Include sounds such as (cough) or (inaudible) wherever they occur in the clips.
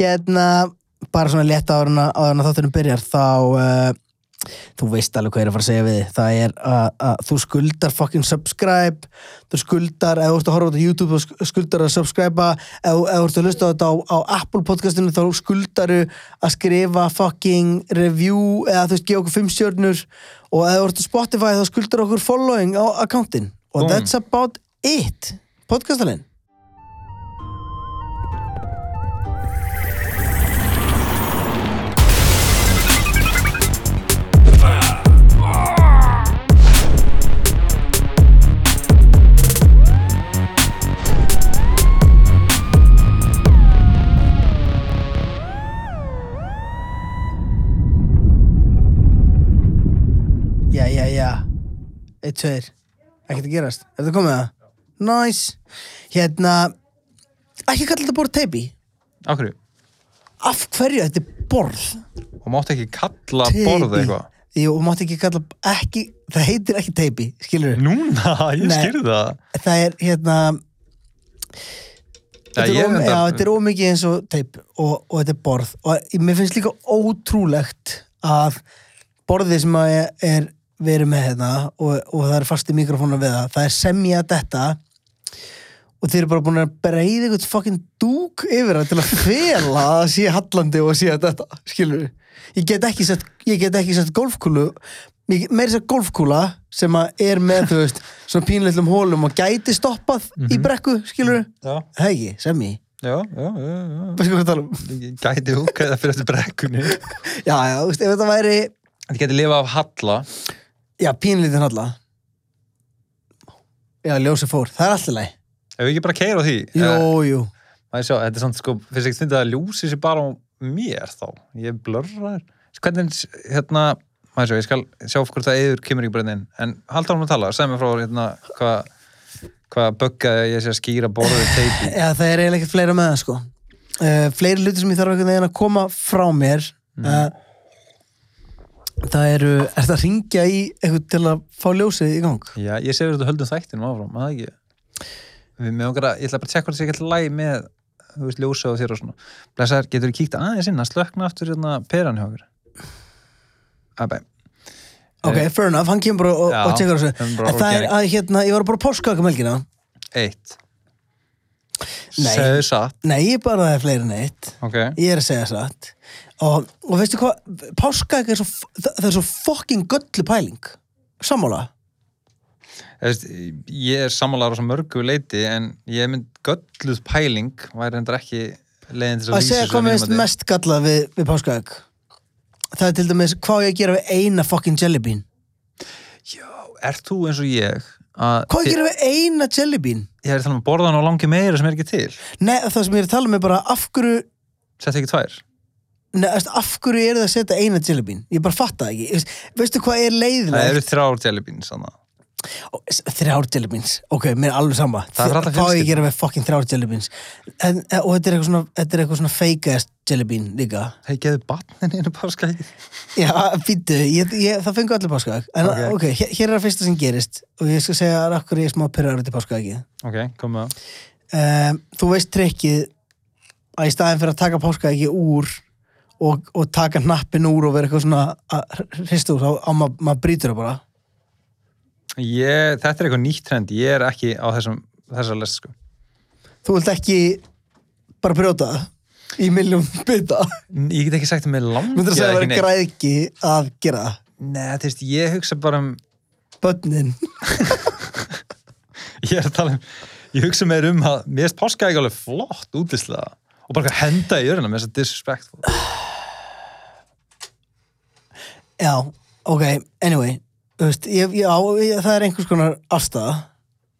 hérna bara svona létt áður en að- áður en að þáttunum byrjar þá uh, þú veist alveg hvað ég er að fara að segja við þig það er að, að þú skuldar fucking subscribe þú skuldar, ef þú ert að horfa út á YouTube þú sk- skuldar að subscriba ef ef þú ert að hlusta á þetta á, á Apple podcastinu þá skuldar að skrifa fucking review eða þú veist, gefa okkur fimm stjörnur og ef þú ert á Spotify þá skuldar okkur following á accountin og Boom. that's about it podcastalinn Já, já, já Eitt, tveir Ekkert að gerast Er þetta komið það? Næs Hérna Ekki kalla þetta borð teipi Af hverju? Af hverju þetta er borð? Og mátt ekki kalla Teipi. borð eitthvað Jú, og mátti ekki kalla ekki, Það heitir ekki teipi, skilur við Núna, (laughs) ég Nei. skýrði það Það er hérna Já, Þetta ég er, óm, já, reyndar- þetta er ómikið eins og teip og, og þetta er borð og mér finnst líka ótrúlegt að borðið sem að er, er verið með hérna og, og það er fasti mikrofónu við það það er semja þetta og þeir eru bara búin að breyða eitthvað fucking dúk yfir það til að fela að það sé hallandi og að sé þetta skilur ég get ekki sett, ég get ekki sett golfkúlu ég- meira sett golfkúla sem að er með þú veist svona pínleitlum hólum og gæti stoppað í Mhm. brekku skilur Já, Það er ekki, sem ég já, já, já, já. Hvað skal við tala um? Ég Gæti húkaði það fyrir þessu brekkunni Þetta Já, já, þú veist, ef þetta væri gæti lifa af halla Já, pínlítið halla Já, ljósi fór, það er alltaf leið Ef við ekki bara keira á því Jú, Eh, jú maður sjá, þetta er samt sko Fyrst ekki fyndið að ljósi sér bara á mér þá Ég blörrar Hvernig, hérna, maður sjá, ég skal sjá hvort það eður kemur ekki brennin En halda hann að tala, segð mér frá hérna hvað hvað böggaði ég sé að skýra borðið teipi Já, það er eiginlega ekkert fleira með það, sko uh, Fleiri hluti sem ég þarf einhvern veginn að koma frá mér Mm. uh, Það eru Er þetta að ringja í eitthvað til að fá ljósið í gang? Já, ég sé að þetta höldum þættinum áfram, að það ekki Við með okkar að, ég ætla bara að tjekka hvort það sé ekki læg með, þú veist, ljósa og þér og svona Blessar, getur þú kíkt aðeins inn að slökna aftur hérna peran hjá okkur Æbæ Ok, fair enough, hann kemur bara og, Eh. Já, og tekur þessu hann bara En það er organic. að, hérna, ég var bara porskaka melgina Eitt Nei. Segðu satt Nei, ég bara það er fleiri en eitt Ok, Ég er að segja satt og, og veistu hvað, páskaegg er svo það, það er svo fucking göllu pæling sammála Þú veist, ég er sammálaður á svo mörgu leiti en ég mynd gölluð pæling væri hendur ekki leiðin til að að segja þessu hvað að mér mínum finnst mati. mest gallað við, við páskaegg það er til dæmis hvað á ég að gera við eina fucking jellybean Ert þú eins og ég að hvað á ég að ég, gera við eina jellybean ég er að tala um borðan og langi meira sem er ekki til nei, það sem ég er að tala um er bara af hverju Sett ekki tvær Nei, veist, af hverju er það að setja eina jellybean? Ég bara fatta það ekki. Veist, veistu hvað er Það eru leiðilegt? þrjár jellybeans þannig Ó, s- Þrjár jellybeans. Ok, mér er alveg sama. Það er fyrir alla Hvað á ég fjölskyldu. að gera við fucking þrjár jellybeans? En, eh, og þetta er eitthvað svona, þetta er eitthvað svona fake-ass jellybean líka. Hei, geðu batnin einu páskaegg Já, býttu, ég, ég, það fengu allir páskaðag En ok, Ok. hér, hér er það fyrsta sem gerist og ég skal segja að akkur ég er smá pyrraður til páskaðagi Ok, komið að um, Þú veist trekkið að í staðin fyrir að taka páskaðagi úr og, og taka hnappin úr og vera eitthvað svona að hristu úr þá að ma, maður brýtur það bara ég, Þetta er eitthvað nýtt trend, ég er ekki á þessum, þessar lest sko Þú vilt ekki bara brjóta það í miljón bytta Ég get ekki sagt að mér langi Myndir að segja að vera ekki neitt græðki að gera það Nei, þú veist, ég hugsa bara um Bönnin Ég er að tala um, ég hugsa meir um að Mér erst páskaegg alveg flott útislega Og bara eitthvað henda í jörðina með þess að disrespectful Já, ok, anyway Þú veist, ég, já, ég, það er einhvers konar afstæða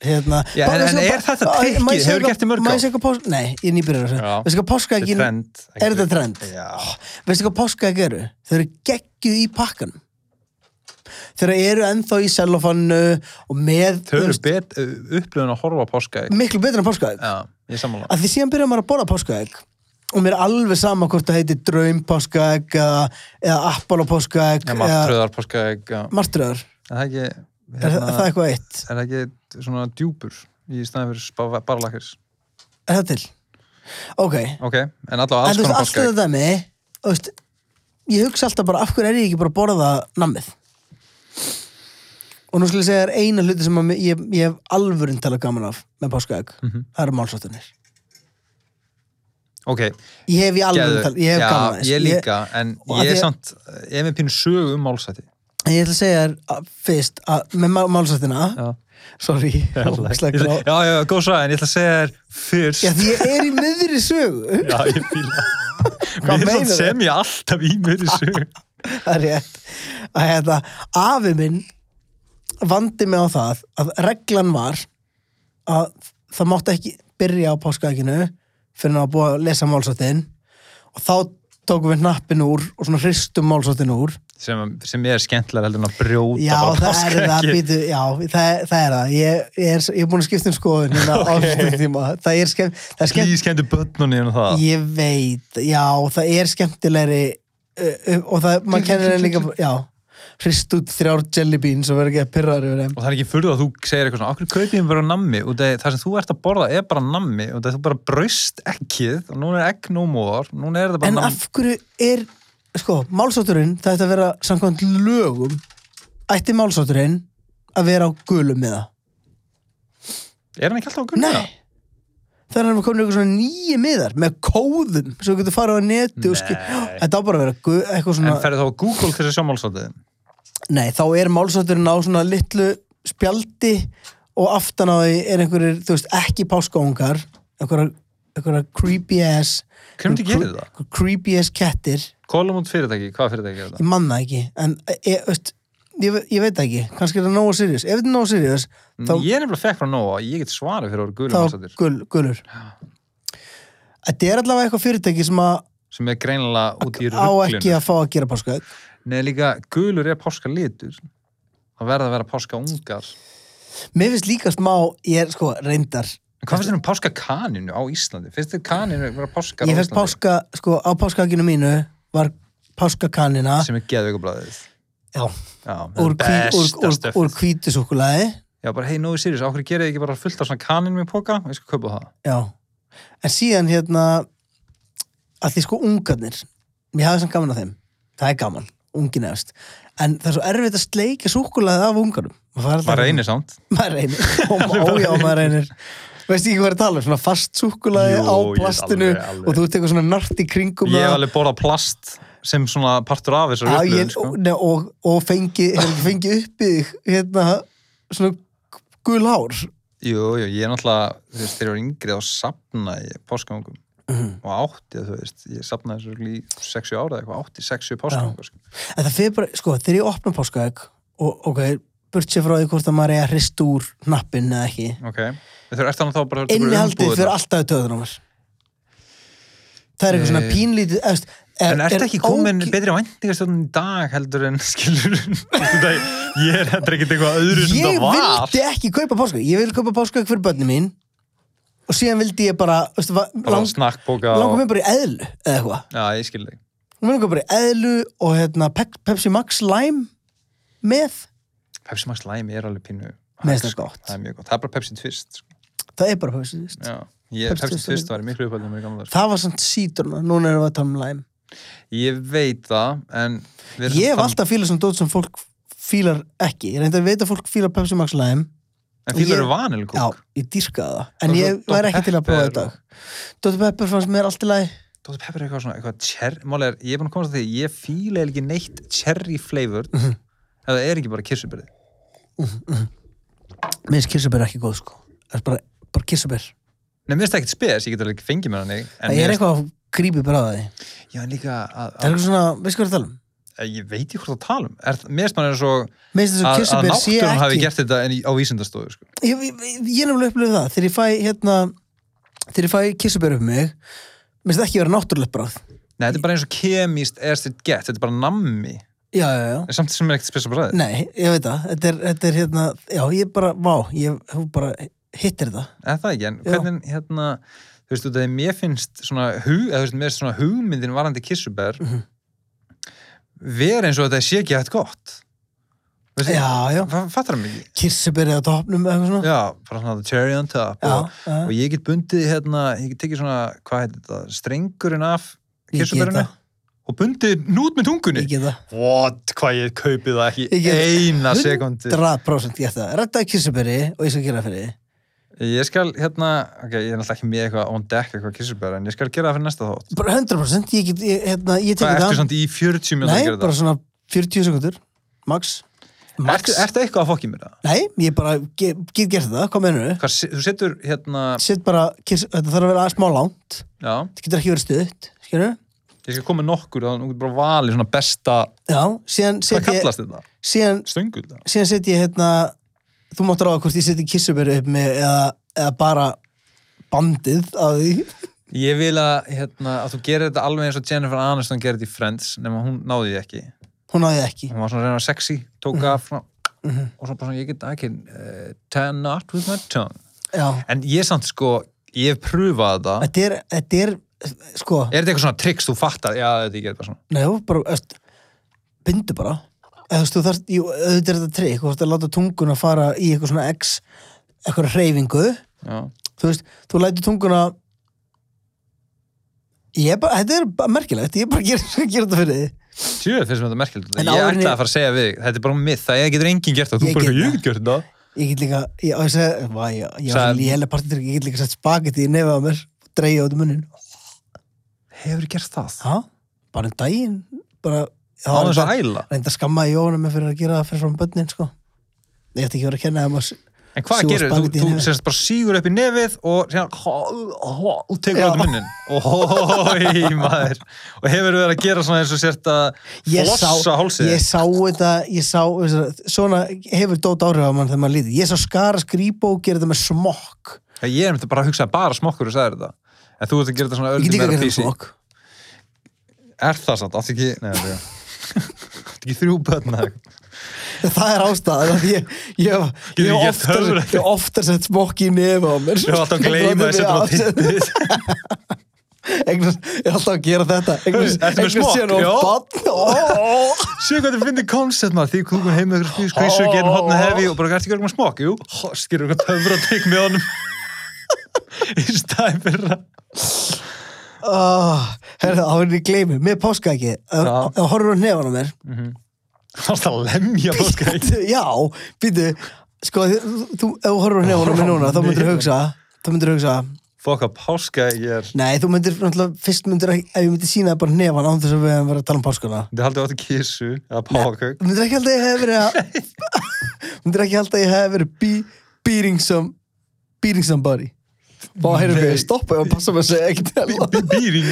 hérna, Já, en- en er þetta trikkið? Hefurðu gert í mörg ár? ár? Pós, nei, ég er nýbyrjar þessu Já. Veistu hvað Þetta er páskaegin, trend er þetta trend? Já, veistu hvað páskaeg eru? Þau eru geggjuð í pakkanum Þeir eru ennþá í cellofannu og með þau þú eru veist, Mm. bet, upplöðun að horfa á páskaegg miklu betur en páskaeg Já, ég er sammála að því síðan byrjar maður að borða páskaegg og mér er alveg sama hvort það heitir draum páskaegg eða, eða appal páskaegg Ég maður tröðar páskaegg já. martröður Er það ekki Mm. er, er hérna- það eitthvað eitt? Er það ekki svona djúpur í staðin fyrir barlakir? Er það til? ok, ok, en en allavega alls þú veist, konar allt páskaegg þetta dæmi þú veist, ég hugsa alltaf bara af hverju er ég ekki bara að borða nammið og nú skulle ég segja þér eina hluti sem að mér- ég, ég hef alvörin talað gaman af með páskaegg Mhm. það eru málsóttunir ok, ég hef í alvöru geðu- talað, um ég hef gaman af já, þessu. ég líka en og að ég er ég- samt, ég er með pínu sögu um málsæti En ég ætla að segja þér að- fyrst að með má- málsættina Já. sorry, ógeðslega Ég ætla- grá- já, já, já, góð svæðin, ég ætla að segja þér fyrst já, því ég er í miðri sögu (laughs) Já, ég fíla Hvað Við erum meinarðu? sem ég alltaf í mér í sögu (laughs) það er rétt að hérna, afi minn vandi mig á það að reglan var að það mátti ekki byrja á páskaækinu fyrir að búa að lesa málsóttin og þá tókum við hnappin úr og svona hristum málsóttin úr sem, sem er skemmtilega heldur en að brjóta já, bara það er það, páskaeggið. býtu, já, það, það er það ég, ég, er, ég er búin að skipta um skoðun (laughs) hérna á þessum tíma. það er skemmt, það er skemmt Please kendu börnunni um það Ég veit, já, það er skemmtilegri uh, uh, og það, maður kennir henni líka, já hrist út þrjár jelly beans og verður ekki að pyrraður yfir þeim. og það er ekki fyrir að þú segir eitthvað svona okkur kaupið mér bara nammi og það, það sem þú ert að borða er bara nammi og það þú bara braust ekkið og núna er egg no more núna er það bara En nammi af hverju er, sko, málsótturinn, það ætti að vera samkvæmt lögum, ætti málsótturinn að vera á gulum með það. er hann ekki alltaf að gunna? Nei. Það er hann komin eitthvað svona nýju miðar með kóðum svo getur farið á neti og skil. Nei. Þetta á bara að vera gu- eitthvað svona... en ferði þá á Google til þess að sjá málsótið Nei, þá er málsátturinn á svona litlu spjaldi og aftan á því er einhverjir, þú veist, ekki páskaungar, einhverjar, einhverjar creepy ass Hver myndi einhverjar gerir það? cre- Creepy ass kettir, Kolumund fyrirtæki, hvað fyrirtæki er ég það? man það ekki en ég, veist, ég, ve- ég veit það ekki kannski er það nógu serious, ef þetta er nógu serious þá, Mm, ég er nefnilega fekk frá Nóa, ég get svarið fyrir að vera gulum þá málsóttir gul, gulur Þetta er allavega eitthvað fyrirtæki sem að sem er greinilega út í á ekki rugglinu að fá að gera páskaegg Nei, líka, gulur er páska litur það verða að vera páska ungar Mér finnst líka smá, ég er sko reyndar En hvað finnst þér um páska kaninu á Íslandi? Finnst þér kaninu vera páskar ég á fekk Íslandi? páska, sko, á páskakinu mínu var páskakanina Sem er geðveikublaðið. já, Já, það úr, er hví, úr, besta úr, stöfið. úr hvítusúkulaði Já, bara, hei, nógu sírjus, áhverju gerði ekki bara fullt af svona kaninu í póka? Ég skal kaupa það. já, en síðan hérna að því sko ungarnir mér hafði samt gaman að þeim, það er gaman ungin efst, en það er svo erfitt að sleika súkulaði af ungarnum maður, Maður reynir samt. maður (laughs) reynir, Ó, ó, já, maður reynir veist ekki hvað er að tala, um, svona fast súkulaði Jú, á ég veit plastinu alveg, alveg. og þú ert eitthvað svona nart í kringum Ég hef það. alveg borðað plast sem svona partur af þessar Já, upplöðun, ég, sko. ne, og, og fengi, (laughs) hefur ekki fengi upp í þig hérna svona gul hár Jú, jú, ég er náttúrulega, þú veist, þegar ég var yngri þá sapnaði ég páskangum Mhm. og átti, þú veist, ég sapnaði þessu í 60 ára eða eitthvað, átti 60 páskangum, sko. en það fyrir bara, sko, þegar ég opna páskaegg og ok, burt sér frá því hvort að maður er að hrist úr hnappin eða ekki Ok, þú ert þannig þá bara að innihaldið fyrir alltaf töðun á mér það er eitthvað svona Nei. pínlítið eðst, er, Eh. En ertu er ekki komin ógi- betri væntingastjóðin í dag heldur en (laughs) skilur Þetta er- ég er heldur ekkert eitthvað öðru sem ég það var vildi ekki kaupa páskaegg ég vildi kaupa páskaegg fyrir börnin mín og síðan vildi ég bara, veist, va- Bara lang, snakkbóka langar og... mig bara í eðlu eða eitthvað Já, ég skil þig Hún verður bara í eðlu og hérna, Pe- Pepsi Max Lime með. Pepsi Max Lime er alveg pínu Mér finnst það gott. Það er mjög gott, það er bara Pepsi Twist sko. Það er bara Pepsi, þú veist. Já, ég, Pepsi Pepsi, Twist er Twist var í miklu uppáldum í gamla daga, Það var samt sítruna, núna erum við að tala um lime. sko. Ég veit það, en við erum um- Ég hef samt- alltaf fílað sem dót sem fólk fílar ekki. Ég reyndi að veit að fólk fílar Pepsi Max Lime. um- En fílar ég- eru Já, vanilkúk ég dýrkaði það. En Og svo ég Dr. væri ekki til að prófa Pepper. þetta. Dr. Pepper fannst mér allt í lagi. Dóttir Pepper er eitthvað svona, eitthvað cherry Mál er, ég er búin að komast að því, ég fíla eiginlega ekki neitt cherry flavored Mhm. Ef það er ekki bara kirsubyrði Mér finnst kirsabær ekki góð, sko. Það er bara, bara kirsabær. Nei, mér finnst það ekkert spes, ég get alveg fengið mér hann Það er eitthvað grípi bara að því. Já, en líka að, Það er eitthvað svona, veist hvað ég er að tala um? að ég veit ekki hvort það tala um er, mér finnst maður eins og Mér finnst þess að að, að kirsabær sé náttúrun hafi ekki. gert þetta en í- á vísindastofu sko. ég, ég, ég- ég nefnilega upplifði það þegar ég fæ hérna þegar ég fæ kissubér upp mig minnst það ekki vera náttúrulegt bráð Nei, þetta er bara eins og kemist erst þetta gett, þetta er bara nammi já, já, já, en samt sem er ekkert spes að bræði nei, ég veit það þetta er, þetta er hérna, já, ég bara, vá ég hún bara hittir það eða það ekki, en hvernig hérna þú veist, þú veist, mér finnst svona, hug, eða, þú veist, mér finnst svona hugmyndin Mhm. varandi kissubær mm eins og þetta sé ekki eftir gott Veistu, já, já, fa- fattar það mikið kirsebyrja á toppnum eða eitthvað svona já, bara svona the cherry on top Já, og, já. og ég get bundið hérna, ég get tekið svona hvað heitir þetta, strengurinn af Ég get kirsubörinu það. og bundið nút með tungunni ég get það, what, hvað ég kaupið það Ég ekki get eina sekundi 100% get það reddaði kirsebyrji og ég skal gera það fyrir þig. ég skal hérna, ok, ég er náttúrulega ekki með eitthvað on deck eitthvað kirsubör, en ég skal gera það fyrir næsta þátt bara 100% ég get, ég, hérna, ég hvað tekið ertu það svona í 40 mjög að nei, gera bara það? svona 40 sekundur max, Ertu, max. ertu eitthvað að fokki mér það? nei, ég bara get, get gert það, hvað meður þau Hvað, se- þú setur hérna, sitt bara, kirs, þetta þarf að vera smá langt já, þetta getur ekki verið stuðt, skilur ég skal koma með nokkur og þú getur bara valið svona besta, já, síðan hvað set ég kallast þetta? síðan, Stöngul það? síðan set ég hérna þú mátt ráða hvort ég seti kirsebyrju upp með eða, eða bara bandið á því Ég vil að, hérna, að þú gerir þetta alveg eins og Jennifer Aniston gerir þetta í Friends nema hún náði því ekki. hún náði ekki Hún var svona reyna sexy, tók Mhm. af svona, og svona bara svona, ég get ekki uh, ten not with my tongue. já, En ég samt sko, ég hef pröfað þetta. þetta er, þetta er sko, Er þetta eitthvað svona triks þú fattar? Já, þetta ég gerir bara svona. Nei, þú bara, öst, bindu bara eða þú veist, þú þarft, jú, auðvitað er þetta trikk þú veist að láta tunguna fara í eitthvað svona x eitthvað hreyfingu Já. þú veist, þú lætur tunguna ég er bara, þetta er bara merkilegt ég er bara að gera, (laughs) að gera þetta fyrir því Sjöðu finnst mér þetta merkilegt. En Ég áður en ætlaði ég- að fara að segja við, þig, þetta er bara mið, það getur enginn gert það. Þú Ég bara, get ég það. get gert það. ég get líka, ég, á, ég, seg, va, ég, ég, Sagði- ég, ég, ég, partitur, ég get líka sett spagetti í nefið á mér og dreigja út í munnin Hefur gert það? ha? bara um daginn bara, Á það var þess að reyndar- hæla. reyndar skammaði Jóhanna mig fyrir að gera það fyrir frá bönnin sko. ég ætti ekki verið að kenna þeim að En hvað Sjúga gerir, þú, spagettí í þú nefið. semst bara sígur upp í nefið og síðan hó, hó, og tekur Já. út munnin Ói, maður og hefur verið að gera svona eins og sért að ég flossa sá, hálsið ég sá þetta ég sá, þessar- svona hefur dót áhrif á mann þegar maður lítið ég sá skara skrýpa og gera þetta með smokk Já, Ég er myndi bara að hugsa bara smokkur og sagði þetta en þú ert að gera þetta ég svona öllum get líka að meira gera þetta með písi smokk Er það samt, átti ekki Nei, það er Átti ekki (laughs) þrjú börn eða eitthvað? það er ástæðan að ég ég, ég, Getur ekki ég, gert oftar, höfður- ég oftar sett smokk í nefa á mér Þú átti að gleyma þess að þetta var tittið Eignast, ég er alltaf að gera þetta eignast, Ertu með smokk? síðan of Já. bann Sé hvað þið finnir koncept maður því kúkum heim með ykkur skvísu og gerum hotna hefi og bara ertu ekki örgum að smokk, jú Hó, skilur eitthvað töfra trygg með honum (laughs) í stæði fyrir að oh, herðu, á henni gleymi með páska ekki, Já. ef horfur á nefan á mér Það varst að lemja páskaegg Bíddu, (laughs) Já, býtu Sko, þú- þú, ef þú horfur hérna á mig núna þá myndir þú hugsa, þá myndir þú hugsa Fokk að páskaegg er Nei, þú myndir, náttúrulega, fyrst myndir ekki- ef ég myndir sína bara nefan án þess að við hefum verið að tala um páskuna Þið haldið átti kísu eða pákaug Þú myndir ekki halda að ég hef verið að (laughs) þú myndir ekki halda að ég hef verið be, beating some beating somebody Bá, heyrðu, Nei. ég stoppa, ég var að passa mig að segja ekki til Þú Býring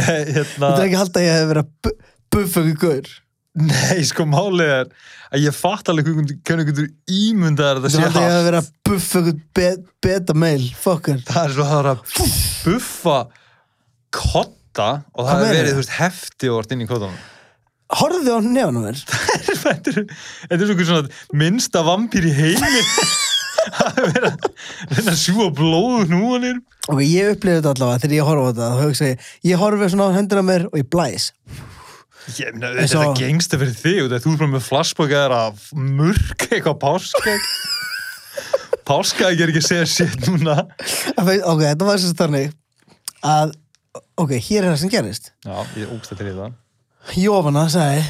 Nei, hérna myndir ekki halda að ég hef verið að bu- buffa ykkur gaur Nei, sko málið er að ég fatt alveg hvernig hvernig getur Þú ímyndað að myndir þetta halda að ég hef sé verið haft að buffa ykkur be- beta mail, fucker Það er svo að það er að buffa kotta og Hvað það er meinar verið, þú? þú veist, hefti og orð inn í kottanum Horfðu á nefan á mér (laughs) Þetta er þetta er svo einhver svona minnsta vampýr í heimi (laughs) Það er verið að reyna að sjúa blóð nú hann er Ok, ég upplifði þetta allavega þegar ég horfa á þetta þá hugsa ég, ég horfi svona á hendina mér og ég blæs (laughs) Ég meina, En þetta svo- er gengsta fyrir þig út af því að þú er bara með flashback að það er að mörg eitthvað (laughs) páskæk Páskæk er ekki að segja sétt núna En veit- Ok, þetta var þessi þannig að, ok, hér er það sem gerist Já, ég er ógst að til í það Jófana sagði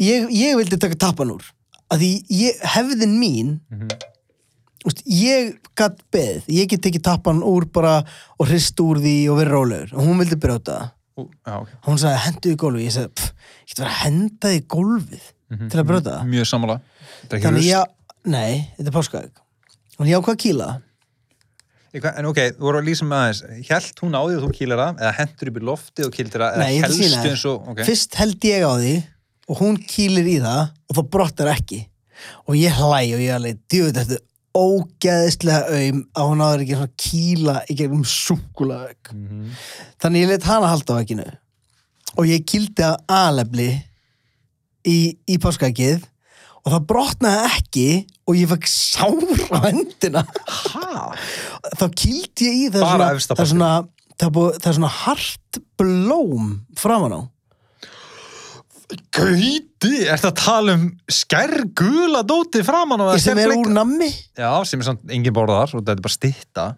ég, ég vildi taka tappan úr að því ég, hefðin mín mm Mhm. úst, ég gatt beð ég get tekið tappan úr bara og hrist úr því og verið rólegur og hún vildi brjóta það Ú, Já, ok hún sagði hendu í gólfið ég sagði, pff, ég get verið að henda því í gólfið til að brjóta það Mjög sammála Þetta er Mhm. ekki Þannig rust ég, nei, þetta er páskaegg Hún ég ákvað að kýla Eitthvað- En ok, þú voru að lýsa með aðeins Hjælt hún á því að þú kýlar það eða hendur upp í lofti og kýldir það Nei, ég eða ætla að sýna helstu þér. eins og ok. Fyrst held ég á því og hún kýlir í það og þá brottar ekki og ég hlæ og ég alveg djöðu þetta ógeðislega aum að hún áður ekki svona kýla í gegnum súkulag Mhm. Þannig ég let hana halda á ekkinu og ég kýldi af alefli í, í páskaeggið og það brotnaði ekki og ég fekk sára hendina Ha? þá kýldi ég í það er Bara svona, efsta það er svona, það er búið, það er svona hart blóm framan á Gauti, ertu að tala um skærgula dóti framan á Ég sem er úr nammi Já, sem er samt engin borðar og þetta er bara stitta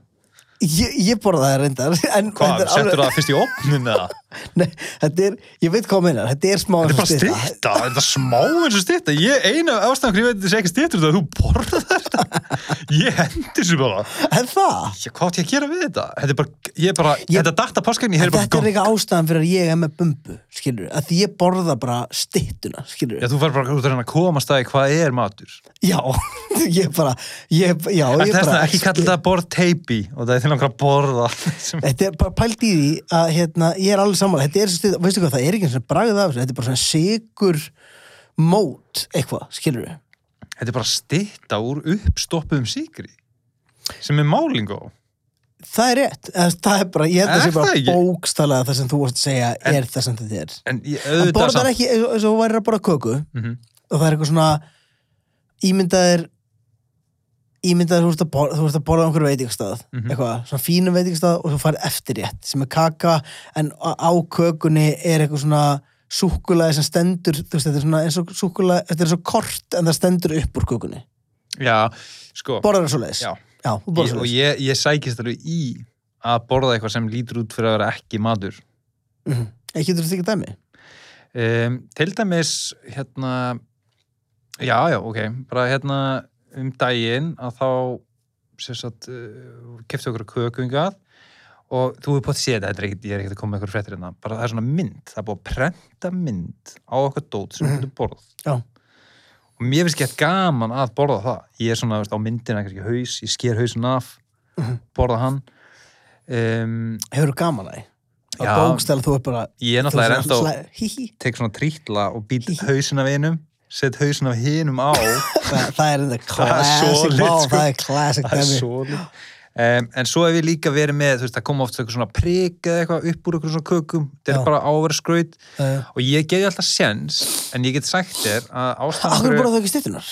Ég, ég borða það reyndar (laughs) en, Hvað, þetta er settur það fyrst í opnin (laughs) eða? nei, þetta er, Ég veit hvað minnar, þetta er smá Þetta er eins bara og stytta. stitta, þetta er smá eins og stitta Ég eina ástæðan hverju ég veit þessi ekki stittur þetta að þú borðar þetta Ég hendi þessu bara En það Ég, Hvað átt ég að gera við þetta? Þetta er bara, ég er bara, Ég- þetta datta páskagni, En ég er bara þetta er gong. eitthvað ástæðan fyrir að ég er með bumbu, skilur að því ég borða bara styttuna, skilur Já, þú verður bara út að reyna að komast að því hvað er matur. Já, (laughs) ég bara ég, já, En ég þess bara vegna ekki kalla þetta borð teipi og það er til langar að borða. Sem, Þetta er bara pælt í því að hérna, ég er alveg sammála, þetta er, stytta, veistu hvað, það er ekki eins og bragð af þessu, þetta er bara svona sigur mót eitthvað, skilur þetta er bara stitta úr uppstoppuðum síkri sem er máling á. Það er rétt, eða það er bara, ég held að Er sé bara það ekki? bókstælega það sem þú varst að segja er það sem þetta er En ég Það auðvitað borðar ekki eins og- eins og þú værir að borða köku Mhm. og það er eitthvað svona ímyndaðir ímyndaðir þú ert að borða, þú ert að borða á einhverju veitingastað Mhm. eitthvað, svona fínum veitingastað og þú farið eftirrétt sem er kaka en á á kökunni er eitthvað svona súkulaði sem stendur þú veist, þetta er svona eins og súkulaði þetta er svo kort en það stendur upp úr kökunni Já, sko. borðar það svo leiðis? Já. Já, þú borðar Ég, svo og leiðis ég, ég sækist alveg í að borða eitthvað sem lítur út fyrir að vera ekki matur. Mhm. Ég getur þetta ekki dæmi Um, til dæmis, hérna, já, já, ok, bara hérna um daginn að þá, sem sagt, uh, kefti okkur kökungað og þú hefur potið séð þetta, þetta er ekkert, ég er ekkert að koma með eitthvað fréttir hérna, bara það er svona mynd, það er búið að prenta mynd á okkur dót sem Mhm. mm. borð. Já. Og mér finnst ekki gaman að borða það. Ég er svona, veist, á myndina kannski haus, ég sker hausin af, Mhm. borða hann. Um, Hefur þú gaman að því? Að Já. bókstæla þú er bara ég er náttúrulega er þú ennþá... svona slæ- (laughs) hí, hí. tek svona trítla og být Hí, hí. hausin af einum set hausin af hinum á Það, það er enda (laughs) Það er classic solid, vá, sko. það er classic (laughs) það er dæmi. svo um, en svo hef ég líka verið með þú veist, það koma oft eitthvað svona prik eða eitthvað upp úr eitthvað svona kökum þetta Já. er bara áverskraut Já, já. og ég gefi alltaf sens en ég get sagt þér að ástæðan Akkur bara þau fyrir- ekki stýttunar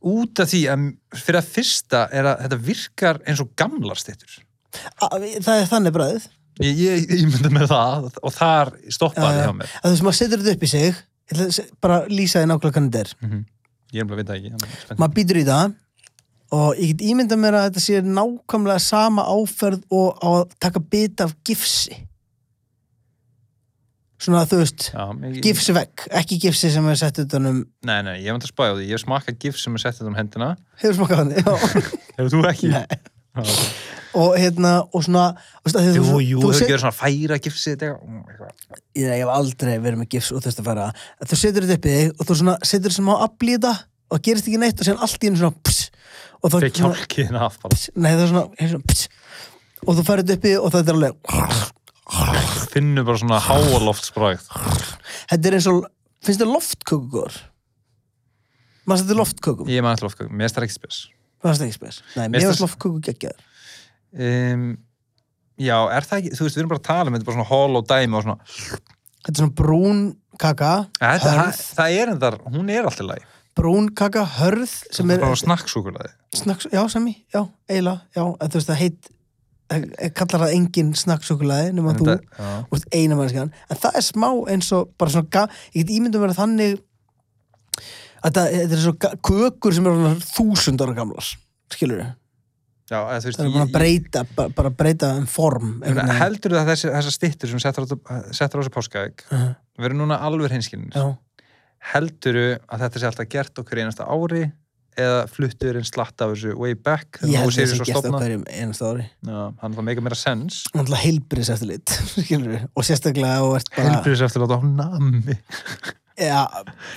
út af því að fyrir að fyrsta er að þetta virkar eins og gamlar stittur Það er þannig bræðið ég, ég, ég myndi með það og þar Já, stoppaði já. hjá mér að þú sem maður setur þetta upp í sig ég ætla að se- bara lýsa því nákvæmlega hvernig þetta er ég er bara að vita ekki þannig að ég er spennt. maður býtur í það og ég get ímyndað mér að þetta sé nákvæmlega sama áferð og á að taka bita af gifsi svona þú veist Já, ég- gifsi vekk, ekki gifsi sem er sett um- utanum Nei, nei, ég hef að spæja á því, ég hef smakað gif sem er sett þetta um hendina hefur smakað hann já. Hefur þú ekki? Nei. og hérna og svona og veist, að því Jú, þú, jú, þú, hefur set- ekki verið svona færa gifsið þetta eitthvað? ég, ég hef aldrei verið með gifs og þess að fara að þú setur þetta upp í þig og þú svona setur sem á aflíða og gerist ekki neitt og séðan allt í hennu svona pss, og þá Fyrir kjálkiðin af bara, pss, nei það er svona, er svona pss, og þú færið þetta upp í þig og þetta er alveg finnur bara svona háaloftsbræð þetta er eins og, finnst þetta loftkökugur maður setur loftkökum Ég er maður alltaf ofkökum, mér stær ekki spes maður setur ekki spes, nei, Mér mér finnst- finnst loftköku geggjaður um, Já, er það ekki, þú veist, við erum bara að tala um þetta er bara svona hol og dæmi og svona þetta er svona brún kaka Æ, þetta, það, hörð, það er endar, hún er alltaf læg brún kaka hörð sem Það er er, bara snakksúkulaði snakks, já sami, já, eiginlega já, en þú veist það heit það kallar það engin snakksúkulaði nema þú, Já, úr eina mannskan en það er smá eins og bara svona ga- ég get ímyndum verið þannig að það, þetta er svo ga- kökur sem eru þúsund ára gamlar skilur við, já eða þú veist það er búin að ég- ég- breyta bara, bara breyta um form ég meina, einhvern veginn. Heldurðu að þessi- þessar styttur sem settar á settar á þessu páskaegg Mhm. verður núna alveg hinskilinir já, helduru að þetta sé alltaf gert okkur einasta ári eða fluttur einn slatt af þessu way back ég held að það þegar Ósíris sem var gert á stofnað? hverjum einast ári Já, hann var meika meira sens náttúrulega heilbris eftir (laughs) lit skilur við, og sérstaklega og ert bara helbriðis eftir að láta á nami er ja,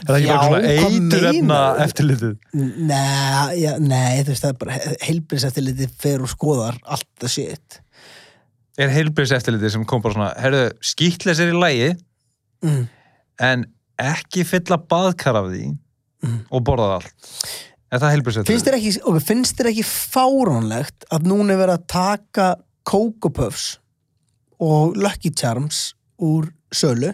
það ekki bara svona eitur efna eftirlitið Nei, já, nei, þú veist, það er bara heilbriðseftirliti fer og skoðar allt það shit. er helbriðis eftirlitið sem kom bara svona herðu, skýtles er í lægi Mm. en ekki fylla baðkar af því Mhm. og borða það allt er það helbriðis Finnst eftirlitið? þér ekki, ok, finnst þér ekki fáránlegt að núna er verið að taka Coco Puffs og Lucky Charms úr sölu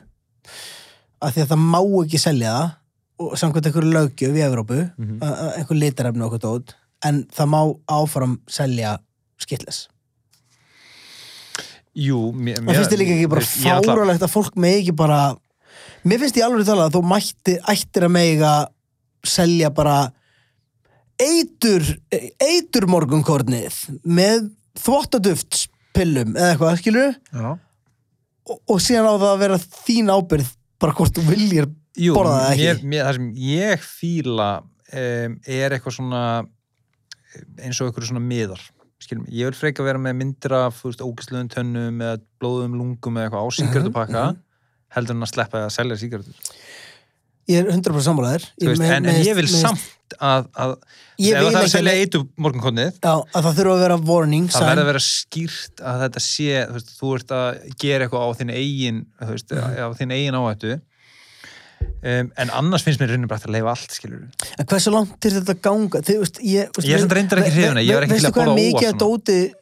af því að það má ekki selja það og samkvæmt einhverju löggjöf í Evrópu Mhm. að- að einhver litarefni og okkur dót en það má áfram selja skitlis. Jú, mér, Það finnst þér líka ekki bara ég- ég ætla- fáránlegt að fólk með ekki bara mér finnst ég alveg talað að þú mætti, ættir að mega selja bara eitur, eitur morgunkornið með þvottaduftspillum eða eitthvað, skilur Já. og, og síðan á það að vera þín ábyrð bara hvort þú viljir Jú, borða það ekki mér, mér, það sem ég fíla um, er eitthvað svona eins og eitthvað svona miðar Skilum, ég vil freka vera með myndir af þú veist, ógæsluðum tönnum eða blóðum lungum eða eitthvað á síkartupakka Mhm, heldur en að sleppa að selja síkartur ég er 100% sammálaðir en, en ég vil samt að, að Ég ef vil það er að ekki selja að- eitu morgunkotnið já, að það þurfa að vera warning það sign. verður að vera skýrt að þetta sé þú, veist, þú ert að gera eitthvað á þinn eigin þú veist, Mhm. á þinn eigin áhættu um, en annars finnst mér reynir bara að leifa allt skilur En hversu langt er þetta að ganga? Þið, veist, ég, veist, Ég er samt reyndar ekki hrifinn, ég var ekki til að borða Veistu hvað er mikið óvart að svona. dóti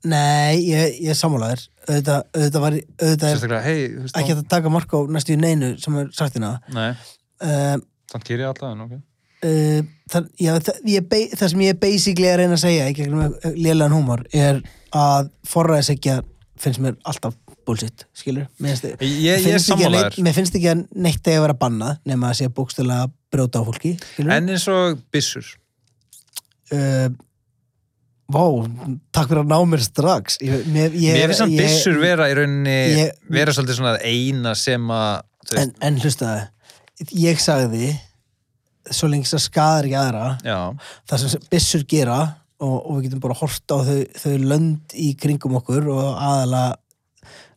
Nei, ég, ég er sammálaður auðvitað, auðvitað, var, auðvitað er sérstaklega, hei, þú veist ekki hægt að taka mark á næstu í neinu sem er sagt hérna Nei, uh, þannig týri ég alltaf en ok uh, það, já, það, ég, be- það sem ég er basically að reyna að segja í gegnum eh, lélegan húmor er að forræðis ekki að finnst mér alltaf bullshit, skilur mér finnst, Ég, ég, finnst ég er ekki að sammálaður neitt- mér finnst ekki að neitt eigi að vera bannað nema að sé bókstælega að brjóta á fólki skilurðu. En eins og byssur uh, Vá, takk fyrir að ná mér strax ég, mér, ég, Mér finnst hann ég- byssur vera í rauninni ég- vera svolítið svona það eina sem að þú veist, en, en hlusta ég sagði svo lengi sem það skadar ekki aðra já, það sem byssur gera og, og við getum bara hort á þau, þau lönd í kringum okkur og aðala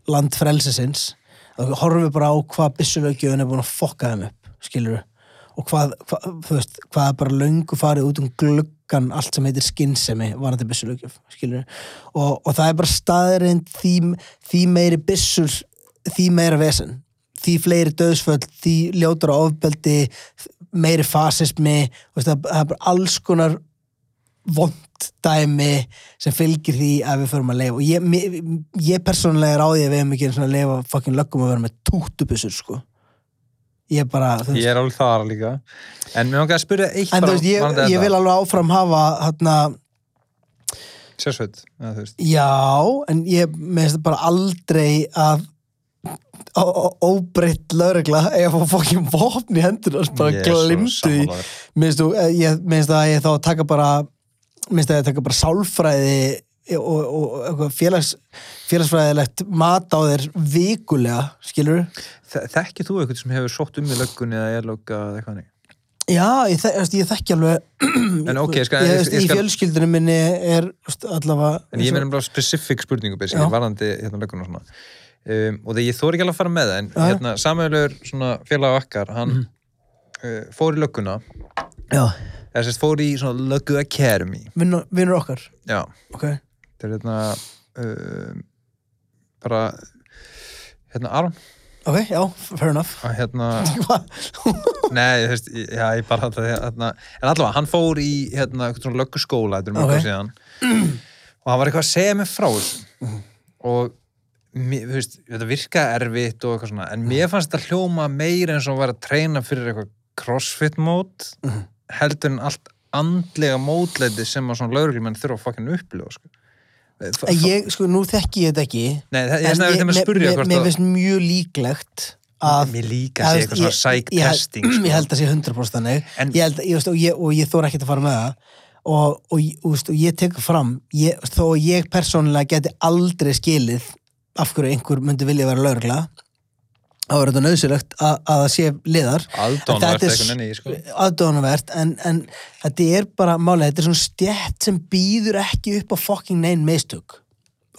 land frelsisins þá horfum við bara á hvað byssurlaugjöfun er búin að fokka þeim upp skilur og hvað, hvað, þú veist, hvað er bara löngu farið út um gluggan allt sem heitir skinnsemi varandi byssurlaugjöf skilur og, og það er bara staðrind því, því meiri byssur því meira vesen því fleiri döðsföll, því ljótur á ofbeldi meiri fasismi þú veist, það, það er bara alls konar vond dæmi sem fylgir því að við förum að leifa og ég, mér- ég persónulega er á því að við hefum ekki einu sinni að leifa fucking löggum að vera með tútubissur sko ég bara, þú ég veist er alveg þar líka En mér langar að spyrja eitt en þú bara veist, ég, varðandi ég þetta. vil alveg áfram hafa hérna, Sérsveit, eða, þú veist já, en ég meðist bara aldrei að ó- ó- óbreytt lögregla ef að fá fokkin vopn í hendur bara Ég er svo glimtu í sammálaður. minnst þú, eh, ég minnst að ég þá að taka bara minnst að ég taka bara sálfræði og, og, og eitthvað félags, félagsfræðilegt mat á þér vikulega, skilur Þe- Þekkir þú eitthvað sem hefur sótt um í löggunni eða er lögga eða eitthvað hannig? já, ég, þek, ég þekki alveg En ok, ég skal, Mm, ég, ég, veist, ég í skal fjölskyldunum minni er veist, allavega En ég meina bara specifík spurningu basically, Já. varðandi hérna lögguna og svona um, og þegar ég þóri ekki alveg að fara með það en Já. hérna, samvegulegur svona félag okkar hann uh, fór í lögguna já, eða sérst fór í svona löggu academy vinnur, vinnur okkar já, ok, þetta er hérna um, bara hérna Aron ok, já, fair enough að hérna, (laughs) Hva? nei, þú veist ég- já, ég bara þetta hérna, en allavega, hann fór í hérna, eitthvað svona lögguskóla, þetta er mjög Ok. okay. síðan og hann var eitthvað að segja mig frá þessu. og mér, þú veist, þetta virka erfitt og eitthvað svona, en mér fannst þetta hljóma meira eins og hann var að treyna fyrir eitthvað crossfit mót heldur en allt andlega mótleiti sem að svona lögreglumenn þurfa að fokkin upplifa sko. F- En ég, sko, nú þekki ég þetta ekki Nei, það, ég er en svona að vera að spyrja mér- hvort mér að- finnst mjög líklegt að Mér líka að Já, segja eitthvað svona ég- ég- (clears throat) sæktesting ég, sko. ég held að sé 100% þannig En- ég held, ég, veist, og, ég, og ég þóra ekkert að fara með það og, og, ég- og, veist, og ég tek fram ég, þó að ég persónulega geti aldrei skilið af hverju einhver myndi vilja vera lögregla þá er þetta nöðsilegt að, að það sé liðar Aðdáunarvert En þetta er- einhvern veginn í, sko. aðdóðanvert en, en þetta er bara málið, þetta er svona stjætt sem býður ekki upp á fucking neinn meistök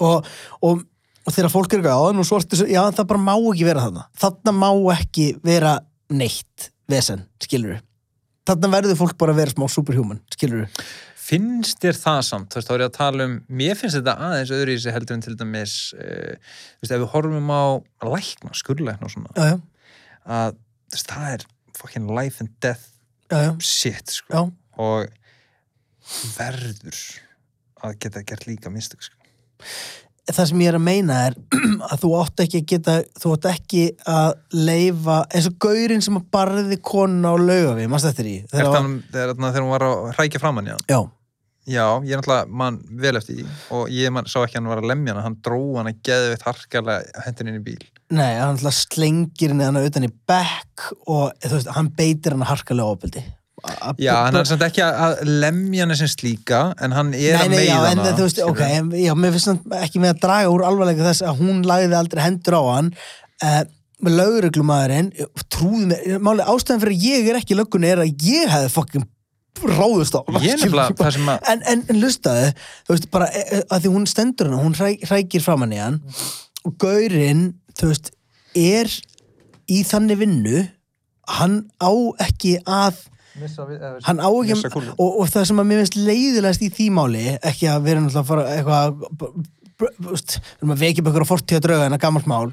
og, og, og þegar fólk er eitthvað áðan og svort já það bara má ekki vera þarna þarna má ekki vera neitt vesen, skilur þarna verður fólk bara að vera smá superhuman skilur finnst þér það samt, þú veist, þá er ég að tala um mér finnst þetta aðeins öðru í sig heldur en til dæmis uh, þú veist, ef við horfum á lækna, skurlækna og svona já, já, að þú veist, það er fucking life and death já, já, shit, sko já. og verður að geta gert líka mistök, sko það sem ég er að meina er (clears throat) að þú átt ekki að geta þú átt ekki að leifa eins og gaurinn sem að barði konuna á laugafi, mannst þetta er í um Ertu hann- þegar þarna- þegar hún var að hrækja framann, já já, Já, ég er náttúrulega mann vel eftir því og ég man, sá ekki að hann var að lemja hana, hann dró hana geðveitt harkalega hendin inn í bíl. Nei, hann alltaf slengir henni hann utan í bekk og þú veist, hann beitir hann harkalega ofbeldi. A- a- Já, hann er samt ekki að- að lemja hana sem slíka, en hann er Nei, að nei, meiða já, hana. en þú veist, ok, skilurðu. en, já, mér finnst samt ekki með að draga úr alvarleika þess að hún lagði aldrei hendur á hann uh, með lauruglumæðurinn trúði mér, máli ástæðan fyrir að ég er ekki í löggunni er að ég hefði fokkin ráðust á hann, Ég er skilur, nefnilega bara- það (laughs) sem að, en, en, en lustaði, þú veist, bara eh, eh, að því hún stendur hana, hún hræ, hrækir framan í hann og gaurinn, þú veist, er í þannig vinnu hann á ekki að hann á ekki Missa kúlu. og, og það sem að mér finnst leiðilegast í því máli ekki að vera náttúrulega að fara eitthvað b- b- b- veist, við erum að vekja upp eitthvað fortíða drauga en að gammalt mál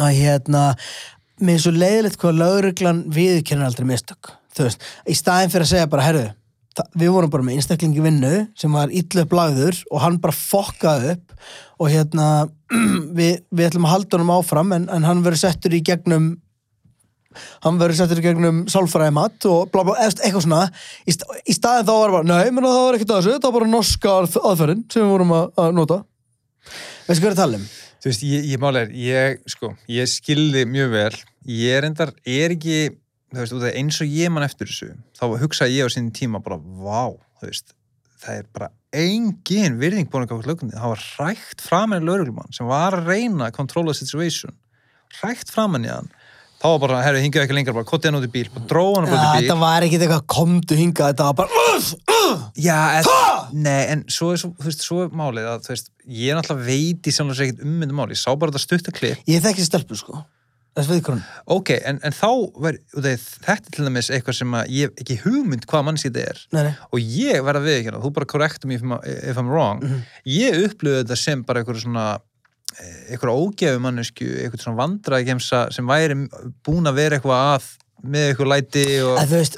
að hérna mér finnst svo leiðilegt hvað lögreglan viðurkennir aldrei mistök þú veist, í staðin fyrir að segja bara herðu, það, við vorum bara með einstaklingi vinnu sem var illu upp lagður og hann bara fokkaði upp og hérna (clears throat) við, við ætlum að halda honum áfram en, en hann verður settur í gegnum hann verður settur í gegnum sálfræðimat og bla bla, eða eitthvað svona í, sta í staðin þá var bara, nei, menn það var ekkert að þessu það var bara norska aðf- aðferðin sem við vorum að, að nota veistu hvað er að tala um? Þú veist, ég, ég málega er, ég, sko, ég skilði mjög vel, ég er endar, er ekki, þú veist, út af eins og ég mann eftir þessu, þá hugsaði ég á sín tíma bara, vá, þú veist, það er bara engin virðing búin að gáða lögum það var rækt framan í lauruglumann sem var að reyna að controla situation, rækt framan í hann, þá var bara, herru, hingað ekki lengar, bara kotti hann út í bíl, bara dró hann Ja, bara út í bíl. þetta var ekkert eitthvað komdu hingað þetta var bara "Uff, uff." Já, en, nei, en svo er, svo, þú veist, svo er málið að, þú veist, ég náttúrulega veit í sjálfins ekkert ummyndu máli, ég sá bara þetta stuttaklip, ég þekki stelpu sko þess við konum ok, en, en þá var, þeir, þetta er til dæmis eitthvað sem að ég hef ekki hugmynd hvað mannski þetta er nei, nei. og ég verða við ekki hérna, þú bara korrektum if, I'm- if I'm wrong, Mhm. ég upplöðu þetta sem bara eitthvað svona eh, eitthvað ógefu mannesku, eitthvað svona vandræðgemsa sem væri búin að vera eitthvað að með eitthvað læti og En, þú veist,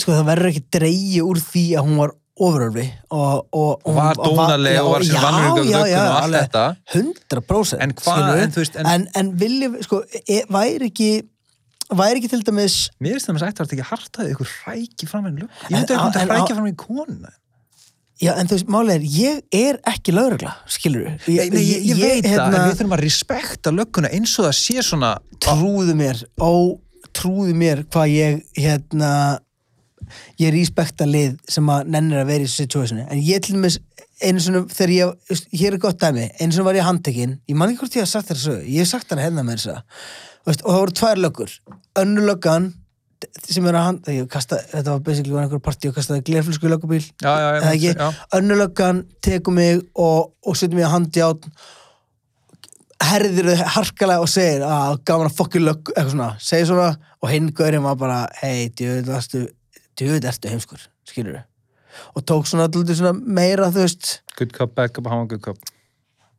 sko það verður ekki dreigi úr því að hún var ofurörfi og, og, og var dónaleg og var sér vannur og allt þetta 100% En hvað- skilurðu? en þú veist, en- en, en viljum, sko, e, væri ekki væri ekki til dæmis Mér finnst það með ætti að þetta ekki hartaði ykkur ræki fram en lög. Ég En- á- myndi ekki en myndi að á- rækja fram í konu. já, en þú veist, málið er, ég er ekki lögregla, skilur við Nei, nei, ég, ég veit hérna- það, en við þurfum að respekta lögguna eins og það sé svona... trúðu mér, ó, trúðu mér hvað ég, hérna ég er íspekta lið sem að nennir að vera í þessu situationi en ég til dæmis, einu svona, þegar ég þú veist, hér er gott dæmi, einu svona var ég handtekinn ég man ekki hvort ég hef sagt þér sögu, ég hef sagt hann hérna með þess að, veist, og það voru tvær löggur önnu löggan sem er að hand, ég kasta, þetta var basically var einhver partí og kastaði glerflösku í löggubíl Já, já, já, eða ekki, já. önnu löggan tekur mig og, og setur mig að handjátn herðir þau harkalega og segir að gaman að fokki lögg eitthvað svona, segir svona og hinn gaurinn var bara, hei, djöðu ertu djöðu ertu heimskur, skilur og tók svona alltaf svona meira þú veist, Good cop, bad cop, how a good cop.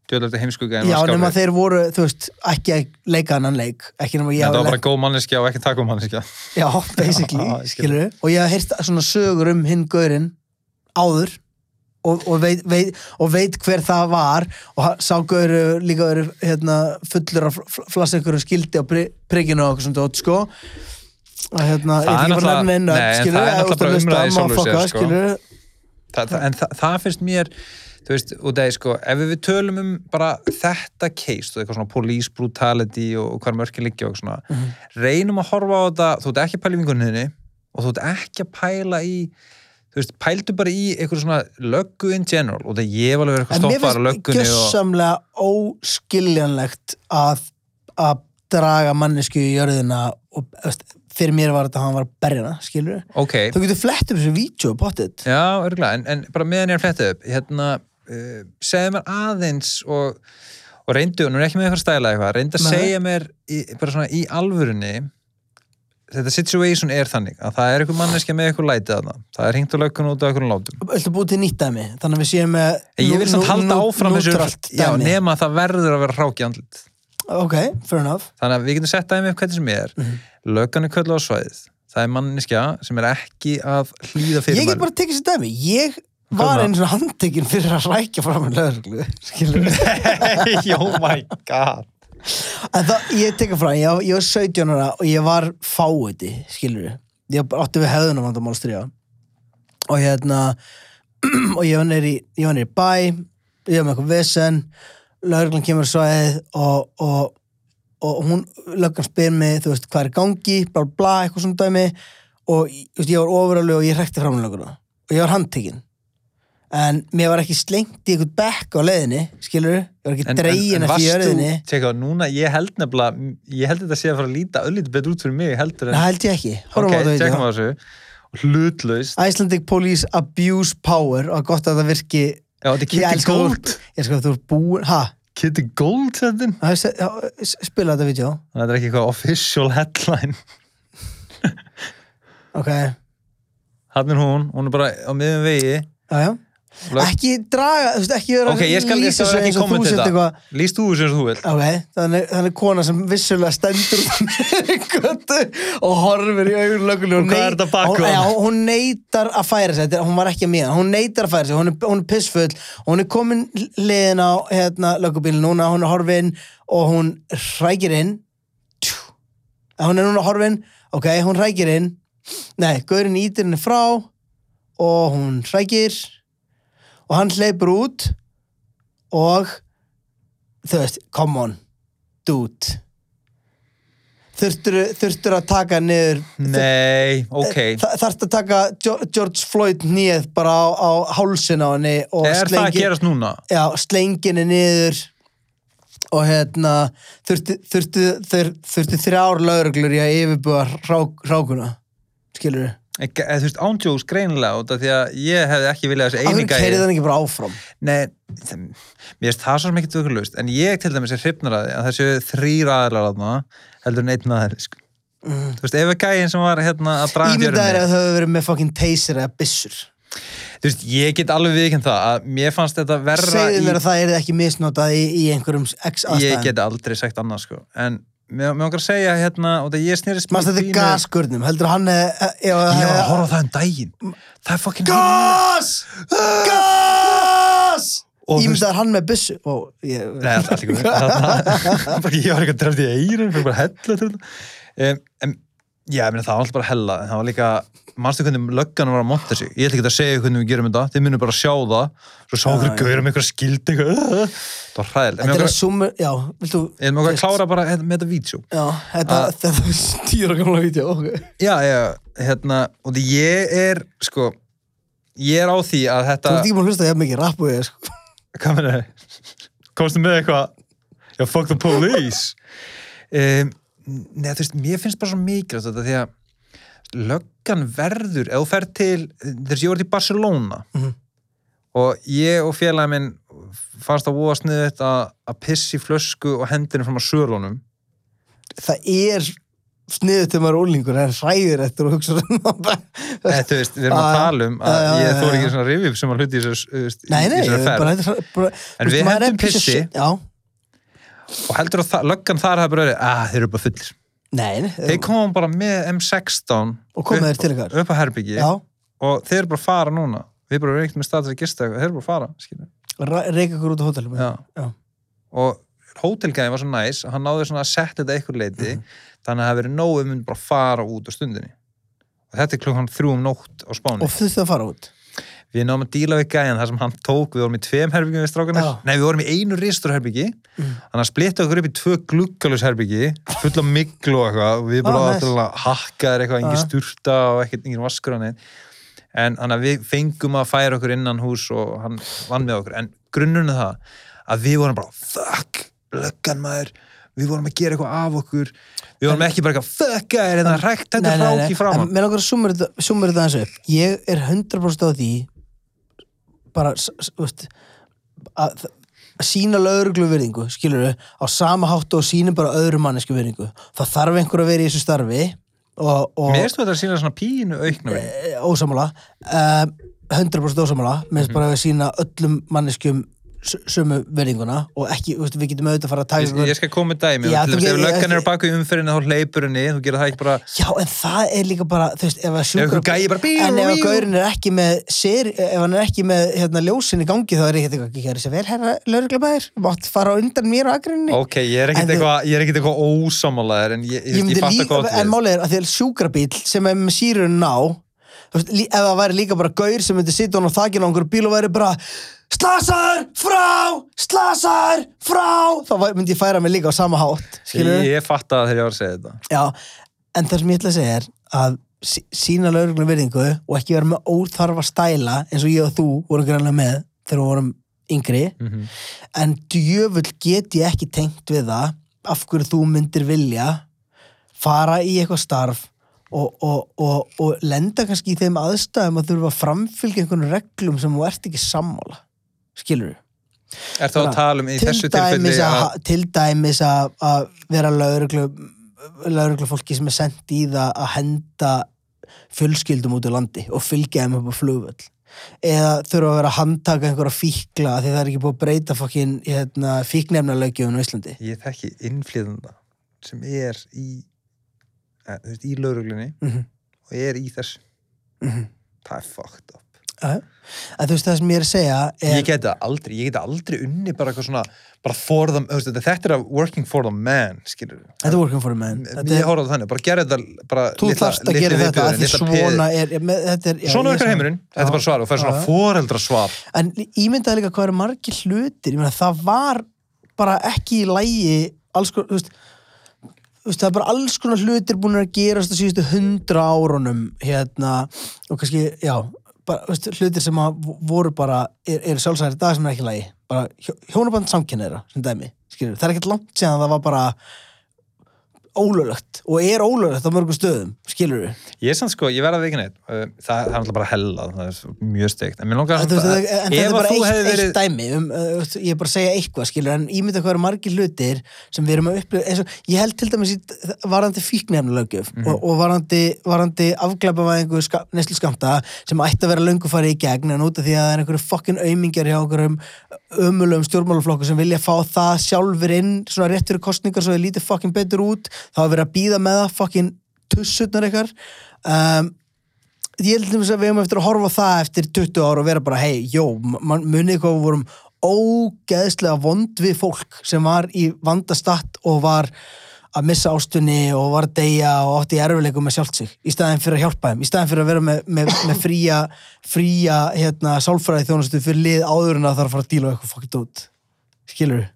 Djöðlega þetta heimskuga en já, var nema skáfið. þeir voru þú veist, ekki að leika annan leik ekki nema ég Þetta hafi var lent- bara góð manneskja og ekki takkum manneskja. Já, basically, Já, ég skil. skilur Og ég hef heyrt svona sögur um hinn gaurinn áður og, og, veit, veit, og veit hver það var og ha- sá gauru líka verið hérna, fullur af flassa einhverjum skildi á pri- prikinu og okkur svona dót, sko að hérna, Það ég ætla ekki er bara að náttúrulega- nefna einu nei, en skilur, það er ef þú ert að náttúrulega hlusta, umræða í má sjálfu sér, fokka, sko. skilur. Þa, það, en það, það finnst mér, þú veist, og það er sko, ef við tölum um bara þetta case, þú veist, eitthvað svona police brutality og, og hvar mörkin liggja og svona, reynum að horfa á þetta, þú ert ekki að pæla í vingunniðinni og þú ert ekki að pæla í, þú veist, pældu bara í eitthvað svona löggu in general og það ég var alveg verið en eitthvað mér stoppaðar á finnst löggunni og... gjössamlega óskiljanlegt að, að draga mannesku í jörðina og veist, fyrir mér var þetta að hann var að berjana, skilur Ok, Þú getur flett upp þessu vídeo pottet Já, örgulega, en, en bara meðan ég er að fletta upp hérna, uh, segja mér aðeins og, og reyndu, og nú er ég ekki með eitthvað að stæla eitthvað, reyndu að Nei. segja mér í, bara svona í alvörunni þetta situation er þannig að það er einhver manneskja með eitthvað lætið að það það er hringt á lökkun út af einhverjum látum Öllu búið til nýtt dæmi Þannig að við séum með en ég vil samt halda áfram Nútralt þessu já, dæmi nema að það verður að vera hráki andlit Ok, fair enough þannig að við getum sett dæmi upp hvernig sem er mm löggan er köllu á svæðið það er manneskja sem er ekki að hlýða Ég get (laughs) fyrirmælum. bara tekið þessi dæmi Ég Hvað var með einu svona handtekinn fyrir að rækja fram en lögreglu (laughs) Skilur oh my god En það, ég tekið fram, ég, ég var 17 ára og ég var fáiði, skilur við. Ég átti við hefðunum vandamál að stríða. Og hérna, (clears throat) og ég var neyri, ég var neyri bæ ég var með eitthvað vesen lögreglan kemur svo aðeð og, og, og hún löggan spyr mig, þú veist, hvað er í gangi bla bla, bla, eitthvað svona dæmi og ég- þú veist, ég var ofuralegu og ég hrekti fram um lögguna og ég var handtekinn en mér var ekki slengt í eitthvað bekk á leiðinni, skilur ég var ekki dregin eftir jörðinni tjekka, núna, ég held nefnilega, ég held þetta sé að fara að líta öllítið betur út fyrir mig, heldur en, það held ég ekki, ok, horfum á þetta tjekkum á þessu, hlutlaust, Icelandic Police Abuse Power og gott að það virki já, þetta er Ég Kitty elska þú- Gold, ég sko að þú er búin, ha Kitty Gold, þetta Já, s- já, s- spila þetta vídeo þetta er ekki eitthvað official headline, ok, já, hann er hún, hún er bara á miðum vegi, já Lög- ekki draga, þú veist, ekki vera að ok, ég skal, ég lýsa skal þessu vera ekki eins og koma þú til sért þetta, eitthvað- líst þú þessu eins og þú vilt, ok, þannig, þannig kona sem vissulega stendur (laughs) út með götu og horfir í augun löggunni Og hvað er þetta bak við hún, hana? já, hún neitar að færa sig, þetta er- hún var ekki að mér hún neitar að færa sig, hún er, hún er pissfull hún er komin liðin á hérna, löggubílinn núna, hún er horfin og hún hrækir inn tjú, Eh, hún er núna horfin ok, hún hrækir inn nei, gaurinn ítir henni frá og hún hrækir og hann hleypur út og þú veist, come on dude þurftur, þurftur að taka niður nei, ok, Þa, þarft að taka Jo- George Floyd nýð bara á, á hálsin á henni og er það að gerast núna, já, slenginni niður og hérna þurftu, þurftu, þur, þurftu þrjár lauruglur í að yfirbúa hrák, hrákuna skilur við Ek- eða, þú veist, ándjóks greinilega út af því að ég hefði ekki viljað þessi Akkur eininga keirið hann ekki bara áfram Nei, það- mér finnst það svo sem ekki tökulust en ég til dæmis er hrifnaraði að þessu þrýr aðlar aðna heldur en einn aðlar sko. mm. þú veist, ef að gæin sem var hérna að draga Ímyndaðir fjörunni að þau hefur verið með fucking taser eða byssur þú veist, ég get alveg viðkjönd það að mér fannst þetta verra Segðu mér í, að það er ekki misnotað í, í einhverjum x ég aðstæðum get aldrei sagt annað sko. en mér mér langar að segja hérna og það ég snýrist Manst mér þetta er sko, pínu- gasgurnum, heldur hann hef, hef, ég var að horfa á það um daginn það er fucking Gas! Gas! Og þú veist- Ímyndaðir hann með byssu Ó, ég, Nei, það er allt í (laughs) góðu. Þarna- Bara ég var eitthvað drefð í eirun, fyrir bara að hella til þetta. Um, já, ég meina það var alltaf bara hella, en það var líka, mannstu hvernig löggan var að monta sig. Ég ætla ekki að segja ykkur hvernig við gerum þetta, þið munum bara að sjá það, svo sá okkur Já, já. gaur um eitthvað skild eitthvað. uh, Það var hræðilegt. Þetta En Mér er að okkar, sumur, já, vilt þú ég mér okkar að klára Ah. bara hérna, með þetta vídeo. Já, þetta, Að- þetta er (laughs) stýra gamla vídeo, ok. Já, já, hérna, og því ég er, sko, ég er á því að Þú ert þetta, ekki búin að hlusta hjá mikið rapp og ég, sko. (laughs) hvað meina komstu með eitthvað já, fuck the police um, neða, þú veist, mér finnst bara svo mikilvægt þetta því að löggan verður, ef þú fer til þess ég var til Barcelona Mhm. og ég og félagi minn fannst að voða sniðu þetta að pissi flösku og hendinu fram að sörlunum Það er sniðið til maður úlingur, það er hræðir eftir og hugsa svona bara. eða, þú veist, við erum Já, að já. tala um að Já, já, ég já, þóri já. ekki svona rifjum sem að hluti í þessu- þú veist, í- Nei, í nei, þessari ferð bara þetta er bara... En Þú við maður er hendum piece of pissi. shit- Já, og heldur að það- löggan þar hafa bara verið að þeir eru bara fullir nei, nei. þeir komum bara með M16 Og koma upp- þeir til ykkar. upp á herbyggi Já, og þeir eru bara að fara núna við bara erum ekkert með status að gista eitthvað, þeir eru bara að fara skilur. ra- reyka ykkur út á hótelum. Já. Já. og hótelgæðin var svo næs að hann náði svona að setja þetta eitthvað leiti þannig að það hafi verið nógu um bara að fara út á stundinni og þetta er klukkan þrjú um nótt á Spáni Og þurftu að fara út. við náðum að díla við gæðin þar sem hann tók við vorum í tveim herbygjum við strákanar Já. nei við vorum í einu ristur herbyggi Mm. þannig að splitta okkur upp í tvö gluggalus herbyggi fulla miklu og eitthvað og við bara Ah, ah, nice. nice. hakkaðir eitthvað, engin Ah. sturta og ekkert engin vaskur hann en þannig að við fengum að færa okkur innan hús og hann vann með okkur en grunnurinn er það að við vorum bara fuck, löggan maður við vorum að gera eitthvað af okkur við vorum ekki bara eitthvað fuck er þetta rækt þetta ráki En framann mér langar að sumur þetta summa þetta aðeins upp. Ég er 100% á því bara, s- s- þú veist, að þ- að sína lögreglu virðingu, skilur við, á sama háttu og sína bara öðru mannesku virðingu. Það þarf einhver að vera í þessu starfi og, og mér stu þetta að sína svona pínu aukna við Eh, ósamála uh, 100% ósamála minnst Mhm. bara að sína öllum manneskjum s- sömu verðinguna og ekki, þú veist, við getum auðvitað að fara að taka Ég, ykkur- ég skal koma með dæmi, sko- Já, já, til þú þess ef gerir- löggan ég- er á baku umferðinu þá hleypur henni, þú gerir það ekki bara Já, en það er líka bara, þú veist, ef að ef sjúkra ykkur gæi bara bíl En ef að bíl. gaurin er ekki með sér, ef hann er ekki með hérna, ljósin í gangi þá er ég eitthvað ekki að gera sér vel herra lauruglabæðir, mátt fara á undan mér á agrinni Ok, ég er En ekkert þú- eitthvað, ég er ekkert eitthvað ósamálaður en ég, ég, ég, ég fatt að líka, gott en við. málið er að því að sjúkrabíl sem er með sírun ná þú veist, lí- ef það væri líka bara gaur sem myndi sitja hann á þakinu á einhverju bíl og væri bara slasaður frá, slasaður frá þá væ- myndi ég færa mig líka á sama hátt skilur Ég fatt að þegar ég var að segja þetta. Já, en það sem ég ætla að segja er að sí- sína lögreglum virðingu og ekki vera með óþarfa stæla eins og ég og þú vorum greinlega með þegar við vorum yngri en djöfull get ég ekki tengt við það af hverju þú myndir vilja fara í eitthvað starf og, og, og, og lenda kannski í þeim aðstæðum að þurfa að framfylgja einhvern reglum sem þú ert ekki sammála skilur Er þá að Bara, tala um í þessu tilfelli dæmis að, að... til dæmis að, að vera lögreglu lögreglu fólki sem er sendt í það að henda fjölskyldum út í landi og fylgja þeim upp á flugvöll eða þurfa að vera að handtaka einhverja fíkla af því það er ekki búið að breyta fokkin hérna, fíknefna lögjöfun á Íslandi Ég þekki innflýðanda sem er í, eh, þú veist, í lauruglunni Mhm. og er í þessu. Mhm. Það er fucked up. Já, já. en þú veist það sem ég er að segja er, Ég geta aldrei, ég geta aldrei unni bara eitthvað svona, bara for them, þú veist, þetta- þetta er að working for the man, skilur við. þetta er working for a man Þetta Ég er- horfði á þannig, bara gera þetta, bara þú þarfst að gera þetta af því svona er, er, með, þetta er já, Svona ég verkar sam- heimurinn, þetta er bara svar og fær Já, svona já. foreldra svar En ímyndaði líka hvað eru margir hlutir, ég meina það var bara ekki í lægi alls konar, þú veist, þú veist, það er bara alls konar hlutir búin að gerast á síðustu hundra árunum hérna og kannski, já, bara, þú veist, hlutir sem að vo- voru bara, er, er sjálfsæri dag sem er ekki í lægi, bara hjó, hjónaband samkynneira, sem dæmi, skilur, það er ekkert langt síðan að það var bara ólöglegt og er ólöglegt á mörgum stöðum, skilur við. Ég er sann sko, ég verða veginn eitt Það það er alltaf bara hella, það er svo mjög steikt En mér langar En þú veist, samt en þetta ef er að bara þú eitt, hefði eitt verið- dæmi um, uh, þú veist, ég er bara að segja eitthvað skilur en ímynda hvað eru margir hlutir sem við erum að upplifa eins og ég held til dæmis í varandi fíknefnulögjöf Mhm. mm og, og varandi, varandi afglæpavæðingu ska, neslu skamta sem ætti að vera löngu farið í gegn en út af því að það er einhverju fokkin aumingjar hjá einhverjum ömulegum stjórnmálaflokku sem vilja fá það sjálfur inn svona rétt fyrir kostningar svo þið lítið fokkin betur út þá er verið að býða með það fokkin tussutnar ykkar um, ég held til dæmis að við hefum eftir að horfa á það eftir 20 ára og vera bara, hei, jó, man- munið hvað við vorum ógeðslega vond við fólk sem var í vandastatt og var að missa ástunni og var að deyja og átti í erfileikum með sjálft sig í staðin fyrir að hjálpa þeim, í staðin fyrir að vera með, með, með fría, fría hérna, sálfræði þjónustu fyrir lið áður en að það er að fara að díla við eitthvað fokkt út skilur við?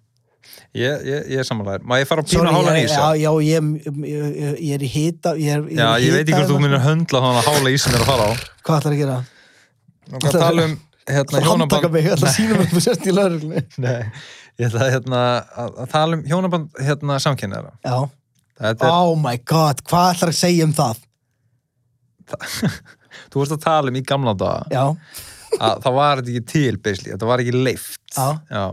Ég ég- ég er samanlæður, má ég fara að pína hálan í ég, þessu? já, já ég, ég, ég, ég er í hita ég, er, Já, er í ég veit ekki hita hvort þú hérna. munir höndla þannig að hála í sem er að fara á Hvað ætlar að gera? Nú hvað tala um Það hérna, er handtaka hjónaband mig, ég ætla að sína mig þú sérst í lauruglunni Nei, ég ætla að, hérna, að að tala um hjónaband hérna, samkynnaðara Já, Þetta er, oh my god, hvað ætlar að segja um það? Þú vorst að tala um í gamla daga Já, að það var þetta ekki til, basically, þetta var ekki leift Já.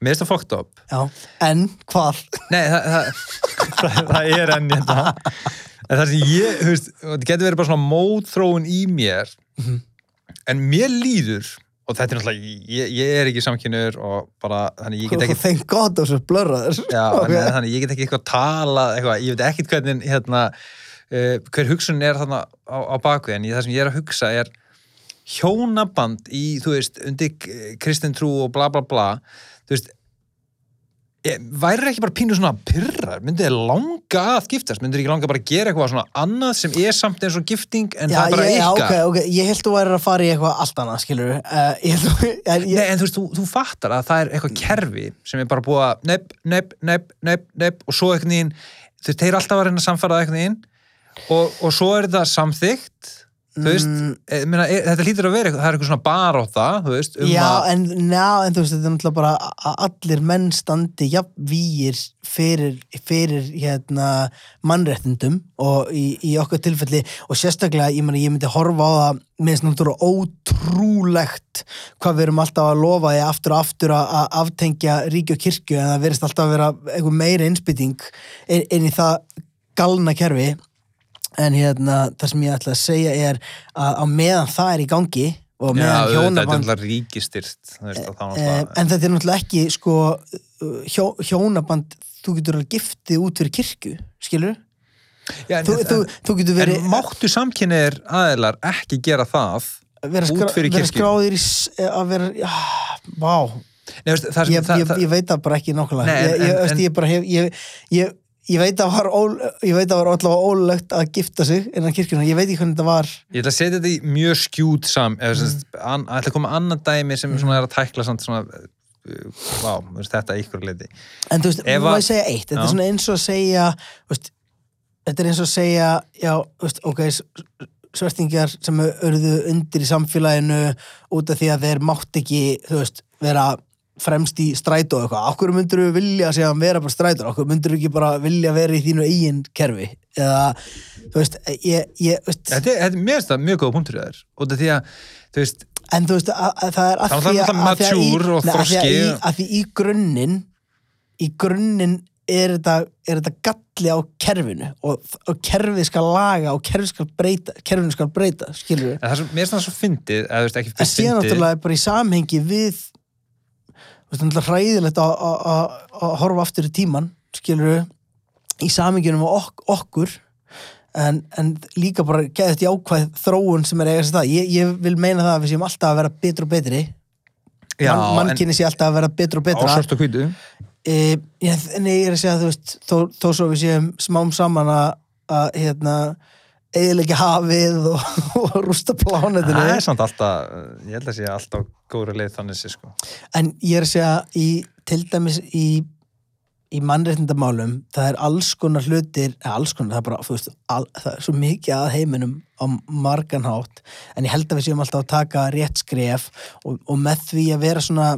Mér finnst það fucked up já, en hvað? Nei, það, það, það, það er enn hérna. En það sem ég, þú veist, og þetta getur verið bara svona mótþróun í mér, en mér líður, og þetta er náttúrulega, ég, ég er ekki samkynur og bara, þannig ég get ekki, (laughs) Thank god og svo blörraður já, (laughs) Ok. þannig, þannig ég get ekki eitthvað talað, eitthvað, ég veit ekkert hvernig, hérna, uh, hver hugsun er þarna á, á bakvið, en ég, það sem ég er að hugsa er hjónaband í, þú veist, undir k- kristin trú og bla bla bla, þú veist, Ég, væri ekki bara pínu svona pyrrar myndið þið langa að giftast myndið þið ekki langa bara að gera eitthvað svona annað sem er samt eins og gifting en Já, það er bara ég, já, ykkar ok, ok, ég held þú væri að fara í eitthvað allt annað, skilur uh, ég held þú, en Nei, ég, Mm. en þú veist, þú, þú fattar að það er eitthvað kerfi sem er bara búið að nepp, nepp, nepp, nepp, nepp og svo eitthvað neginn, þú veist, þeir alltaf að reyna að samfara eitthvað neginn og, og svo er þetta samþygt þú veist, Mm. mm. minna, er, þetta hlýtur að vera eitthvað, það er eitthvað svona baróta, þú veist um já, að, en, ná, en þú veist, þetta er náttúrulega bara a- að allir menn standi jafn vígir fyrir, fyrir hérna, mannréttindum og í, í okkar tilfelli og sérstaklega, ég, meni, ég myndi horfa á það með þess náttúrulega ótrúlegt hvað við erum alltaf að lofa því aftur og aftur að að aftengja ríki og kirkju en það verðist alltaf að vera einhver meira innspýting inn inn í það galna kerfi en hérna, það sem ég ætla að segja er að á meðan það er í gangi og já, meðan auðvitað, þetta er hjónaband alltaf ríkistyrt þú veist, að það var Eh, alltaf en þetta er náttúrulega ekki sko, uh, hjó, hjónaband þú getur alveg giftið út fyrir kirkju skilur já, en, þú, þú, en, þú getur verið en máttu samkynir aðilar ekki gera það vera, skrá, út fyrir vera kirkju? skráðir í s- eh, að vera ah, vá, Nei, þú veist, það sem, ég, það, sko, ég, það, ég veit það bara ekki Nei, nákvæmlega en- ég, ég, en- veist, en- ég bara hef ég, ég, ég veit að var, ól, ég veit að var allavega ólulegt að gifta sig innan kirkjuna, ég veit ekki hvernig þetta var Ég ætla að setja þetta í mjög skjút sam eða sem sagt, an- ætla að koma annað dæmi sem svona er að tækla samt svona uh, vá, þú veist, þetta að ykkur leiti en þú veist, Ef Eva, má að- ég segja eitt þetta Já. er svona eins og að segja þú veist, þetta er eins og að segja já, þú veist, ok, svertingjar sem urðu undir í samfélaginu út af því að þeir mátt ekki þú veist, vera fremst í strætó og eitthvað, okkur myndur við vilja segja að vera bara strætó, okkur myndur við ekki bara vilja vera í þínu eigin kerfi eða, þú veist, ég, ég þú veist, Þetta er, þetta er mér finnst það mjög góða punktur í þær út af því að, þú veist, En þú veist, að, að það er að Það var því að, náttúrulega að, því að, mature og nei, að, því að, þroski. í- að því í grunninn í grunninn er þetta, er þetta galli á kerfinu og, og kerfið skal laga og kerfið skal breyta, kerfinu skal breyta skilur við. en það er svo, mér finnst það svo fyndið eða, þú veist, ekki En síðan fyndið náttúrulega bara í samhengi við þú veist, náttúrulega hræðilegt að- að að- að horfa aftur í tíman skilur við í samhengjunum og ok, okkur en, en líka bara geða þetta jákvæð þróun sem er eiga sér það ég, ég vil meina það að við séum alltaf að vera betri og betri já, Man, mannkinni sé alltaf að vera betra og en, á betra svart og hvítu e, ég, en ég er að segja þú veist þó, þó svo við séum smám saman að, að hérna eðilegja hafið og, (laughs) og rústa plánetinu það er samt alltaf, uh, ég held að sé alltaf góður leið þannig sé sko en ég er að segja í, til dæmis í í mannréttindamálum það er alls konar hlutir eða alls konar, það er bara, þú veist al, það er svo mikið að heiminum á marganhátt en ég held að við séum alltaf að taka rétt skref og, og með því að vera svona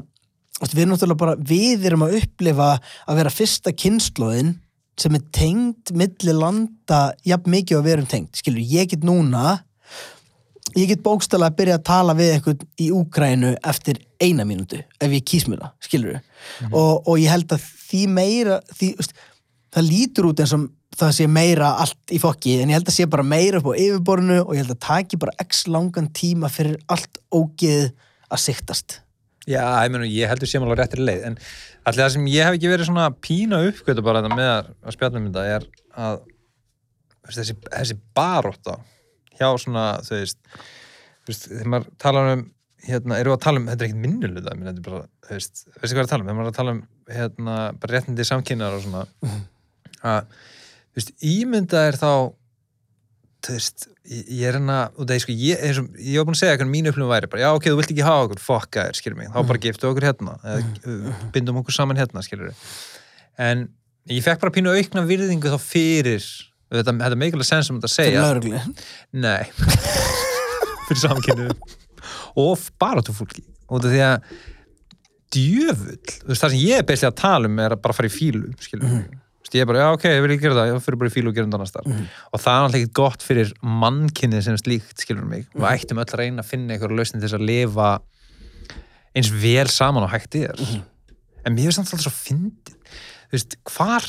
þú veist, við erum náttúrulega bara, við erum að upplifa að vera fyrsta kynnslóðin sem er tengd milli landa jafn mikið og við erum tengd skilur, ég get núna ég get bókstælega að byrja að tala við einhvern í Úkrænu eftir eina mínútu ef ég kýs mér það, skilur og, og ég held að því meira því, veist, það lítur út eins og það sé meira allt í fokki en ég held að sé bara meira upp á yfirborinu og ég held að taki bara x langan tíma fyrir allt ógeð að siktast já, ég, meni, ég heldur sem alveg réttir leið en allir það sem ég hef ekki verið svona pína uppgötu bara þetta með að, að spjallum þetta er að þú veist, þessi, þessi baróta hjá svona, þú veist, þú veist þegar maður talar um hérna, erum við að tala um, þetta er ekkert minnuluta minn, þetta er bara, þú veist, veistu hvað er að tala um þegar maður er að tala um, hérna, bara réttindi samkynnar og svona að, þú veist, ímynda er þá þú veist, ég, ég er hérna og það er sko, ég, eins og, ég var búin að segja hvernig mín upplifum væri, bara, já, ok, þú vilt ekki hafa okkur fuck aðeir, skilur mig, þá bara giftu okkur hérna eða uh, bindum okkur saman hérna, skilur en ég fekk bara pínu aukna virðingu þá fyrir þetta, þetta meikulega sens sem um þetta fyrir segja lögreglu Nei (laughs) Fyrir samkynnu Og baratúfólki Út af því að djöfull Þú veist, Það sem ég er bestið að tala um er að bara fara í fílu skilur mm Ég er bara, já ok, ég vil ekki gera það, ég fyrir bara í fílu og gera þetta annars þar. Og það er alltaf ekki gott fyrir mannkynnið sem slíkt, skilur mig. Við ættum öll að reyna að finna einhverja lausnin til þess að lifa eins vel saman og hægt er. Mhm. En mér finnst samt alltaf svo fyndið. Þú veist, hvar,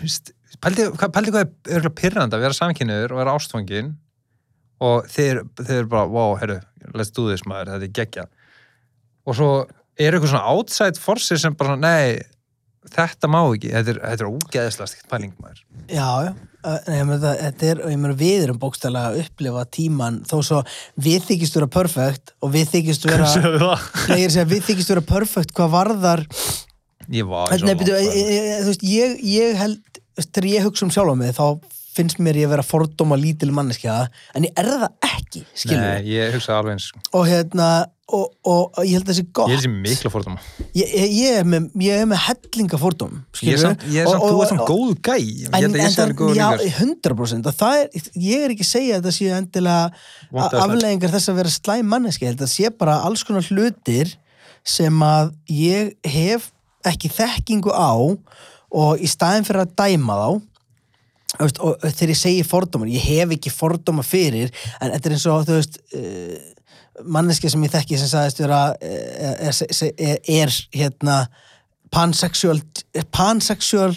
þú veist, pældi, pældi hvað er örgulega pyrrandi að vera samkynniður og vera ástfangin og þeir, þeir eru bara, wow, herru, let's do this maður, þetta er geggja og svo eru eitthvað svona outside forces sem bara, svona, nei þetta má ekki, þetta er, þetta er ógeðislega stíkt pæling maður já, já Uh, Nei, ég meina, það- þetta er, og ég meina við erum bókstælega að upplifa tíman þó svo við þykist vera perfect og við þykist vera Nei, ég er að segja, við þykist vera perfect hvað varðar ég var Nei, byrju, e, e, e, þú veist, ég, ég held þú veist, þegar ég hugsa um sjálf á mig þá finnst mér ég vera fordóma lítil manneskja en ég er það ekki, skilur nei, ég hugsa alveg eins ég og hérna, og, og, og ég held þessi gott er þessi mikla fórtum ég, ég, ég, er með, ég er með hellinga fordóm ég er samt, ég er samt, þú er samt góð gæ ég En, held að en ég sé það, alveg góð já, líka sko. 100% og það er, ég er ekki að segja að þetta séu endilega Vont a- eða slæmt. afleiðingar þess að vera slæm manneski þetta sé bara alls konar hlutir sem að ég hef ekki þekkingu á og í staðin fyrir að dæma þá þú veist, og þegar ég segi fordómar ég hef ekki fordóma fyrir en þetta er eins og þú veist uh, manneski sem ég þekki sem sagðist vera eh, er, er, er, er hérna pansexual pansexual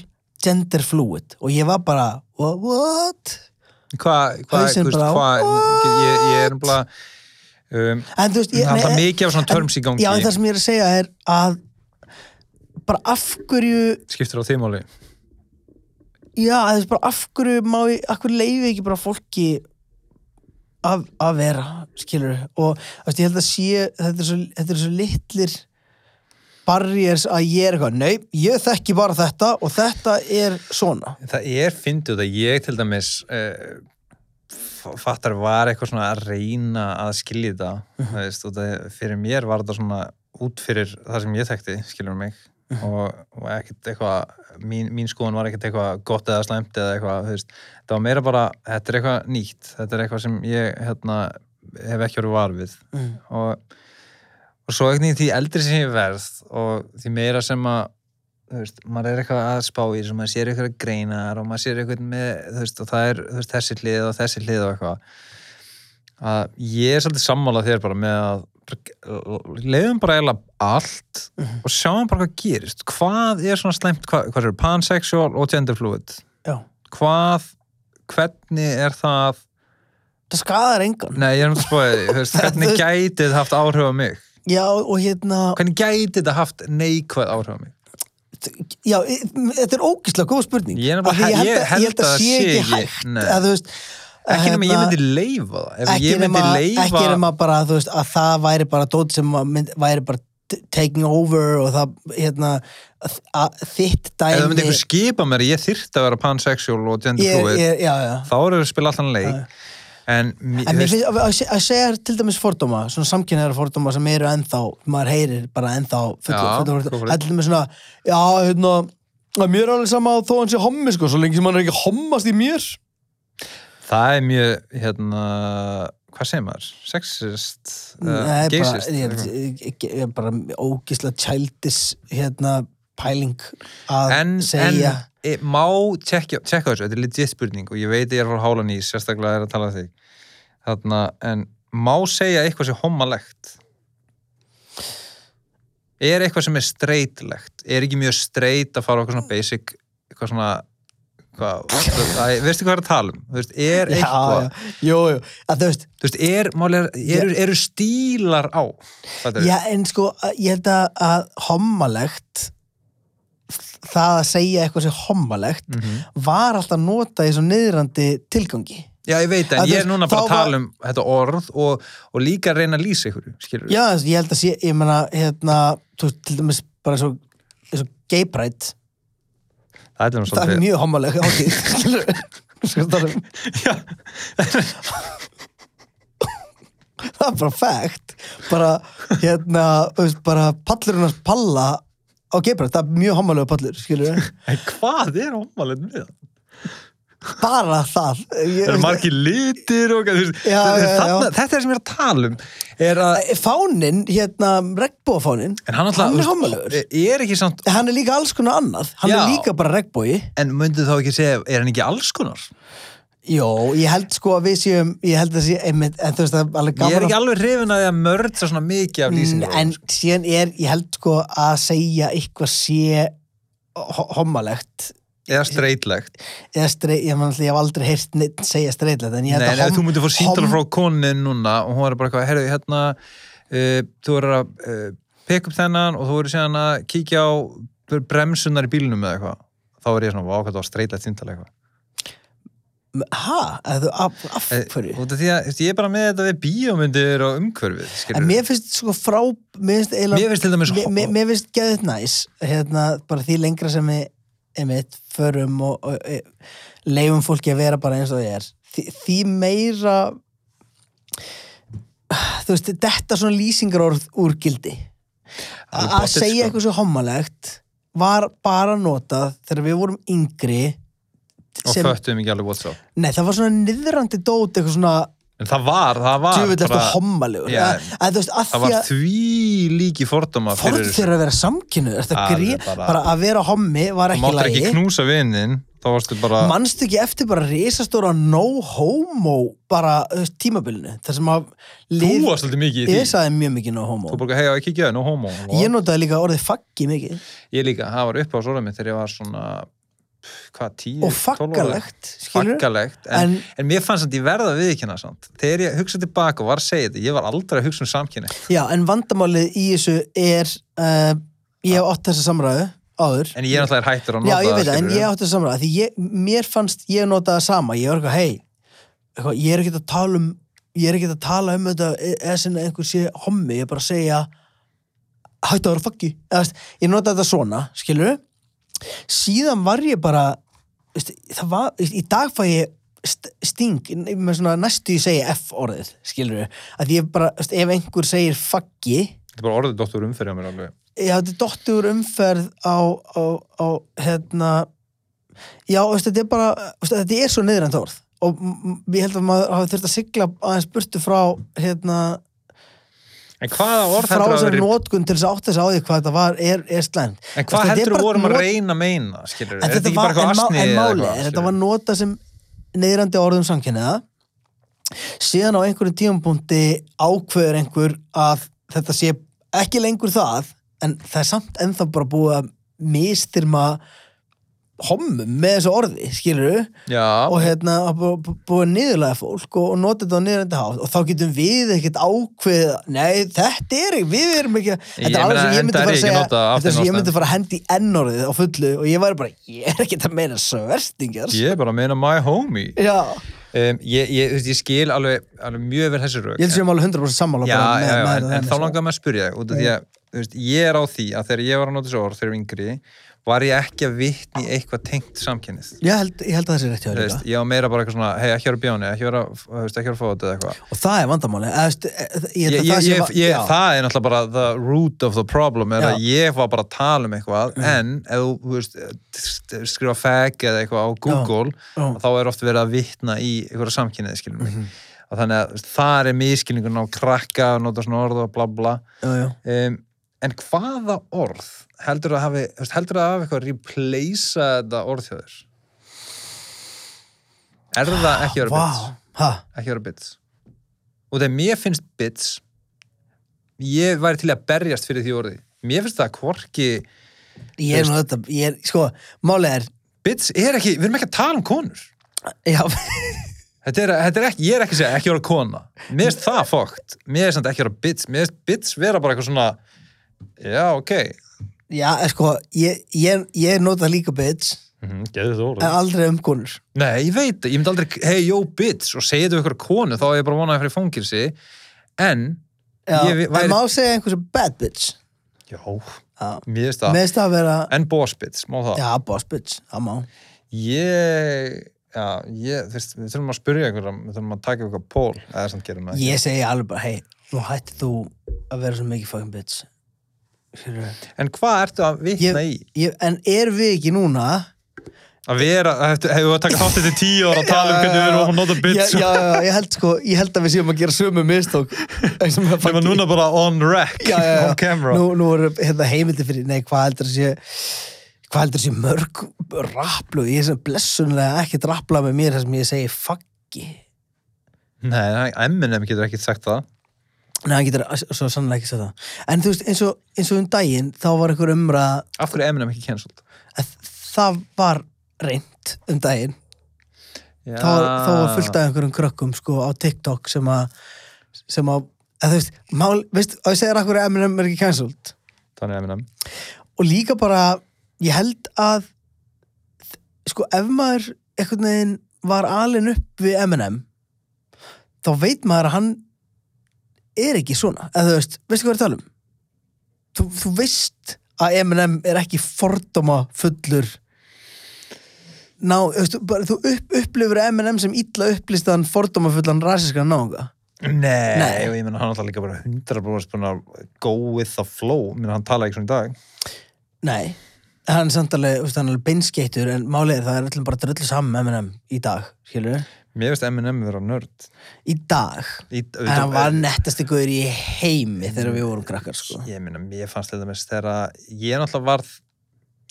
gender fluid og ég var bara "Wha- what? hvað, hvað, Hausinn þú veist, bara, hvað ég, ég er bara um, en þú veist ég, það er nei, alltaf mikið af svona terms í gangi já en það sem ég er að segja er að bara af hverju skiptir á þeimáli já þú veist bara af hverju má ég, af hverju leifi ekki bara fólki að, að vera skilur og þú veist, ég held að sé þetta er svo, þetta er svo litlir barriers að ég er eitthvað, nei, ég þekki bara þetta og þetta er svona Það er fyndið að ég til dæmis uh, fattar var eitthvað svona að reyna að skilja þetta þú veist, og það, fyrir mér var þetta svona út fyrir það sem ég þekkti, skilur mig og, og ekkert eitthvað mín, mín skoðun var ekkert eitthvað gott eða slæmt eða eitthvað, þú veist, það var meira bara þetta er eitthvað nýtt, þetta er eitthvað sem ég hérna, hef ekki orðið var við Mhm. og og svo einhvern veginn því eldri sem ég verð og því meira sem að þú veist, maður er eitthvað að spá í þessu maður sér eitthvað greinar og maður sér eitthvað með, þú veist, og það er þú veist, þessi hlið og þessi hlið og eitthvað að ég er svolítið sammála þér bara með að leiðum bara eiginlega allt og sjáum bara hvað gerist hvað er svona slæmt, hvað, hvað er pansexual og genderfluid já, hvað, hvernig er það það skadar engan nei, ég er um að spóið, þú veist, hvernig gætið haft áhrif á mig já, og hérna, hvernig gæti þetta haft neikvæð áhrif á mig? já, e- þetta er ógislega góð spurning Ég er Af því nefnilega- ég, held að, ég held að sé ekki hægt nei. að þú veist að Ekki nema ég hérna- myndi leifa það. Ef ekki ég myndi nema, leifa... ekki nema bara þú veist, að það væri bara dót sem að mynd, væri bara t- taking over og það hérna, að- að þitt Ef það myndi dæmi einhver skipa mér að ég þyrfti að vera pansexual og ég, genderfluid, ég, já, já. þá eru við að spila allan leik. En, En mér mér- þú veist, finnst að, að- að segja til dæmis fordóma, svona samkynnaðar fordóma sem eru ennþá, maður heyrir bara ennþá fullur, Já, fullur, go for fullur, it. það er til dæmis svona, já, hérna, að mér er alveg sama þó hann sé hommi, sko, svo lengi sem hann er ekki að hommast í mér. það er mjög, hérna, hvað segir maður? Sexist? Uh, Nei, bara, geysist? ég, ég, ég, ég er bara ógisla childish, hérna, pæling að en, segja. en e, má tjekka, tjekka þessu, þetta er legit spurning og ég veit ég er frá hálan í, sérstaklega er að tala um þig. Þarna, en má segja eitthvað sem homalegt? Er eitthvað sem er streitlegt? Er ekki mjög streit að fara á eitthvað svona basic, eitthvað svona, hvað, æ, veistu hvað er að tala um? Þú veist, er Já, eitthvað, já, jú, jú, að þú veist þú veist, er, málega, eru, eru stílar á? Fattarðu? já, en sko, að- ég held að, að hommalegt það að segja eitthvað sem hommalegt Mhm. var alltaf notað í svo niðrandi tilgangi Já, ég veit, en Að þú ég er veist, núna þá bara að var- tala um þetta orð og, og líka að reyna að lýsa ykkur, skilur já, þú veist, ég held að sé, ég meina hérna, þú veist, til dæmis bara svo, svo gay pride, Það er það nú er svolítið. mjög hommaleg (laughs) hátíð, skilur við það er bara fact bara, hérna, þú veist, bara pallurinn hans palla á gay pride, það er mjög hommalega pallur, skilur við En hvað er ómalinn með það? bara það Það eru margir litir og þú veist, Já, þetta, já, þarna, þetta er sem ég er að tala um er að, fánin, hérna, regnbófánin en hann alltaf er hommalögur er ekki samt, hann er líka alls konar annað, hann Já. er líka bara regnbói en myndið þá ekki segja er hann ekki alls konar? Jó, ég held sko að við séum ég held að sé, einmitt, en þú veist það er alveg Ég er gaman ekki alveg hrifin að því að mörda svona mikið af sko. Mm, lýsingar en síðan er, ég held sko að segja eitthvað sé ho- hommalegt eða streitlegt eða streið, ég, man, ég hef aldrei heyrt neitt segja streiðlega, en ég Nei, held en að ef þú hom- myndir fór síntal hom- frá konin núna og hún er bara eitthvað, herru, hérna uh, þú er að uh, peka upp þennan og þú eru síðan að kíkja á bremsunar í bílnum eða eitthvað þá er ég svona, vá, hvað það var streitlegt síntal eitthvað ha, að þú, af, af Eh, hverju Út af því að þú veist, ég er bara með þetta við bíómyndir og umhverfið, skilur en mér finnst sko frá mér finnst eiginlega Mér finnst til dæmis Mér- mér, mér finnst geðið næs hérna, bara því lengra sem við einmitt, förum og, og e, leifum fólki að vera bara eins og það er því, því meira þú veist, þetta svona lýsingar úr, úr gildi A- Alveg að pottþétt, segja sko. eitthvað svo hommalegt var bara notað þegar við vorum yngri og föttum ekki alveg what's up nei, það var svona niðrandi dót eitthvað svona en það var, það var djúvill eftir Ah, bara, hommalegur Já, að, að, þú veist, að það því var að því líki fordóma fyrir fórn þessu þeirra að vera samkynu Alveg bara, bara- bara að vera hommi var þú ekki máttir lægi ekki knúsa vinnin þá varstu bara, mannstu ekki eftir bara risastóra no homo bara þú veist, tímabilinu þar sem að þú lið, varst svolítið mikið í ég því sagði mjög mikið no þú homo bara, hei, ekki ekki það, nú homo ég notaði líka orðið faggi mikið ég líka, það var upp á svolum mitt þegar ég var svona pff, hvað, tíu, og 12 ára? faggalegt skilur faggalegt en, en en, mér fannst að ég verða að viðkynna samt þegar ég hugsaði tilbaka og var að segja þetta ég var aldrei að hugsa um samkynni Já, en vandamálið í þessu er uh, ég hef átt þessa samræðu áður. en ég er náttúrulega hættur að Já, nota ég veit það, en skilurðu. ég átti þessa samræðu því ég, mér fannst ég notaði það sama ég var eitthvað, hei, eitthvað, ég er ekki að tala um ég er ekki að tala um þetta e- eða sinna einhver sé hommi, ég er bara að segja hættu að vera faggi Eða, veist, ég nota þetta svona, skilur síðan var ég bara veist, það var, í dag fæ ég st- sting, með svona næstu ég segi F orðið, skilur að ég bara, veist, ef einhver segir faggi Þetta er bara orðið dóttur umferðja mér alveg. ég hafði dottur umferð á, á, á hérna já, veist, þetta er bara veist, þetta er svo niðrandi orð og m- m- ég held að maður hafi þurft að sigla aðeins burtu frá hérna, En hvaða orð frá heldur að þessar verið, nótkunn til þess að átta þess á því hvað þetta var, er, er slæmt en hvað Sko, Þetta er heldur bara að vorum að not- reyna að meina, skilur? en Er þetta þetta ekki var, bara eitthvað en, má, asni en eða máli, eitthvað? þetta var skilurðu? nota sem neyðrandi orðum samkynniða síðan á einhverjum tímapunkti ákveður einhver að þetta sé ekki lengur það en það er samt ennþá bara búið að mistyrma hommum með þessu orði, skilur og Já, hérna að bú- bú- búið að niðurlega fólk og, og nota þetta á niðurlega hátt og þá getum við ekkert ákveðið nei, þetta er ekki, við erum ekki þetta Ég er alveg meina, sem ég myndi fara enda er að ég segja ekki notað af þetta er þeim sem ég myndi ástæðum. fara að hendi í n-orðið á fullu og ég væri bara, ég er ekkert að meina svörstingar ég er bara að meina my homie. já, Um, ég, ég, þú veist, ég skil alveg, alveg mjög vel þessi rauk. ég held sem alveg 100% sammála já, bara með- já, já, með þetta en, en þannig, þá sko. langar maður að spyrja þig, út af því að þú veist, ég er á því að þegar ég var að nota þessu orð þegar ég var yngri var ég ekki að vitni eitthvað tengt samkynnið ég held, ég held að það sé rétt hjá Þú þér veist, líka. ég var meira bara eitthvað svona, hei, ekki vera bjóni ekki vera, þú veist, ekki vera fótið eða eitthvað og það er vandamáli Eða, veist, e- ég held ég, að ég, það sé ég, va- ég, já. það er náttúrulega bara the root of the problem er Já. Mm. að ég var bara að tala um eitthvað en ef þú, þú veist, st- skrifa fag eða eitthvað á Google Já. Mhm. þá er oft verið að vitna í einhverja samkynniði skilum mig mm þannig að þú veist, þar er miskilningun á krakka og nota svona orð og bla bla Já, já. um, en hvaða orð heldur að hafi, þú veist, heldur að hafi eitthvað að replacea þetta orð hjá þér er það ekki að vera bits Vá. Ha. ekki að vera bits og þegar mér finnst bits ég væri til að berjast fyrir því orði mér finnst það hvorki ég er nú þetta ég er, sko, málið er bits er ekki, við erum ekki að tala um konur já, Þetta er, þetta er ekki, ég er ekki að segja ekki að vera kona. Mér finnst það fókt. Mér finnst þetta ekki að vera bits. Mér finnst bits vera bara eitthvað svona, já, ok. Já, eh, sko, ég, ég, ég nota líka bitch, Mm -hmm, Geðið þú en aldrei um konur. Nei, ég veit það, ég myndi aldrei, hei, jó, bitch, og segja þetta við ykkur konu, þá er ég bara vonaði fyrir fangilsi, en, Já, Ég vi- væri- En má segja einhversu bad bitch. já, Já. mér finnst Með það, þess að vera, en boss bitch, má það. já, boss bitch, það má. Ég, já, ég, þú veist, við þurfum að spyrja ykkur, við þurfum að taka ykkur pól, eða samt gerum við það. Ég segi alveg bara, hei, nú hætti þú að vera svo mikið fucking bitch. Skilurðu? En hvað ertu að vitna í? Ég, en er við ekki núna... Að vera, hefur hef við að taka þátt þetta tíu ára að tala um hvernig við erum að nota Já, bitch, já, já, ég held sko, ég held að við séum að gera sömu (laughs) mistók. sem að núna bara on rec, já, já, já. on camera. nú, nú eru hérna, heimildi fyrir nei, hvað heldur að sé hvað heldur að sé mörg rapplu ég er sem blessunlega ekki rappla með mér þar sem ég segi faggi Nei, Eminem getur ekki sagt það. nei, hann getur svo sannlega ekki sagt það en þú veist, eins og, eins og um daginn þá var einhver umra Af hverju er Eminem ekki cancelled? að það var reynd um daginn þá, var- þá var fullt af einhverjum krökkum sko, á TikTok sem að sem að, að þú veist, mál, veist að ég segir að hverju Eminem er ekki cancelled Þannig Eminem. og líka bara ég held að sko ef maður einhvern veginn var alin upp við M&M þá veit maður að hann er ekki svona eða þú veist, veistu hvað ég er að tala um þú, þú veist að M&M er ekki fordóma fullur ná, þú veist, bara, þú upp, upplifur M&M sem illa upplistaðan fordóma fullan rasískan náunga Nei, Nei. og ég meina hann alltaf líka bara 100% búin að go with the flow minna hann talaði ekki svona í dag Nei, hann er samt alveg, þú veist, hann er alveg beinskeitur en málið er það er allir bara dröllu saman með M&M í dag, skilur Mér finnst Eminem vera nörd Í dag í, En hann var eh, nettasti guður í heimi þegar við vorum krakkar, sko Ég meina, mér fannst þetta mest þegar að ég náttúrulega varð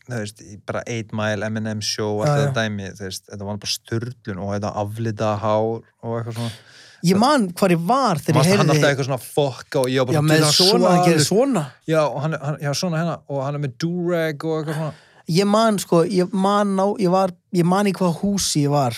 þú veist, í bara 8 Mile, Eminem show allt Já, þetta dæmi, þú veist, þetta var bara styrlun og þetta aflita hár og eitthvað svona Ég man hvar ég var þegar Mast, ég hann alltaf heyrði eitthvað svona fokka og ég var bara Já, "Dude, með hann svona, hann gerir svalur." svona Já, og hann, hann, já, svona hérna og hann er með durag og eitthvað svona Ég man, sko, ég man á Ég, var, ég man í hvað húsi ég var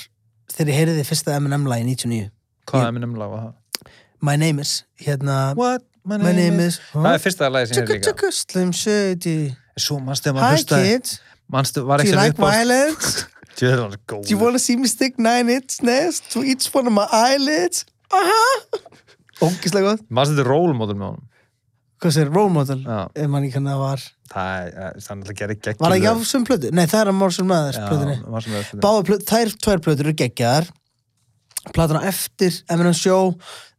þegar ég heyrði fyrsta M&M lagi 99 Hvað Eminem laga það? My name is, hérna What? My My name is Það er fyrsta lagi sem ég Tjökku, er líka tjökku, slim shady Svo mannstu þegar Hi maður hlustaði kids, Manstu, var do you ekki sem like upp á violence? Djöður var góð Do you wanna see me stick nine inch nails to each one of my eyelids? Aha! Ógislega gott. Manstu þetta rólmóður með honum hvað sér, role model Já. ef mann ekki hann að var það er það er náttúrulega gerði geggjum var það ekki af sem plötu? Nei, það er að Morrison Mathers plötunni plöðinni Báðar plöt, þær tvær plötur eru geggjaðar Platana eftir, Eminem Show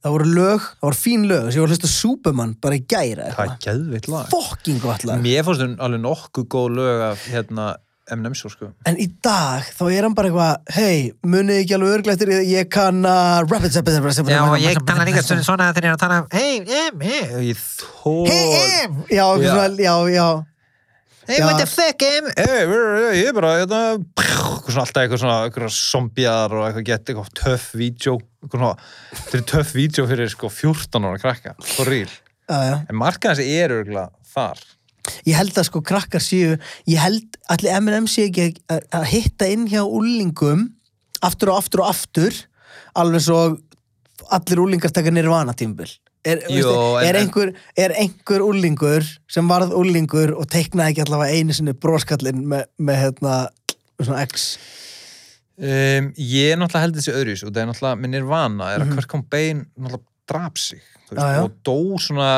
Það voru lög, það voru fín lög Þessi ég var að hlusta á Superman bara í gæra það er geðvitt lag Fucking gott lag mér fannst hún alveg nokkuð góð lög af hérna M&M svo sko En í dag, þá er hann bara eitthvað Hei, munið ekki alveg örglega eftir því að Ég kann að rapid zap zap zap Já, og ég tala líka stundum svona þegar ég er að tala um, hei, em, em ég þó Hei, em Já, Já. svona, já, já hey, what the fuck, em hey, ég er bara hérna eitthvað svona alltaf eitthvað svona eitthvað zombiðar og eitthvað gett eitthvað töff vídeo eitthvað svona þetta er töff vídeo fyrir sko 14 ára krakka for real Já, já. en markaðans er örgulega þar Ég held að sko krakkar séu Ég held allir M&M séu ekki að- að hitta inn hjá úlingum Aftur og aftur og aftur Alveg svo allir úlingar taka nirvana tímbil Er, Jú, veistu, en- er, en- einhver, er einhver úlingur sem varð úlingur og teiknaði ekki allavega einu sinni broskallinn með, með hérna með svona X um, ég er náttúrulega held þessi öðruvis og það er náttúrulega minn er vana er að Kurt Cobain náttúrulega draf sig þú veist, Mhm. Já, já. og dó svona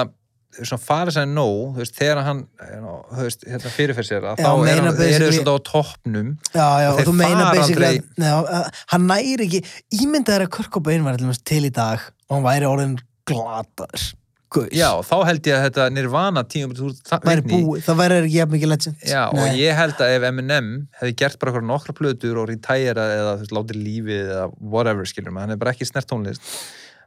svona farið sér nóg þú veist, þegar hann you know, þú veist, hérna fyrirferð sér að Já, þá er meina hann, er basically- þau svona á toppnum Já, já, Og og þeir þú meina fara basically aldrei- að- já, að- hann næri ekki ímyndaður að Kurt Cobain var til dæmis til í dag og hann væri orðin glataður Guðs. já, þá held ég að þetta nirvana tíum þú ert það- væri vitni í. búið, það væri ekki jafn mikið legend Já, og Nei. ég held að ef M&M hefði gert bara okkur nokkra plötur og retæra eða þú veist, látið lífið eða whatever skilur maður, hann er bara ekki snert tónlist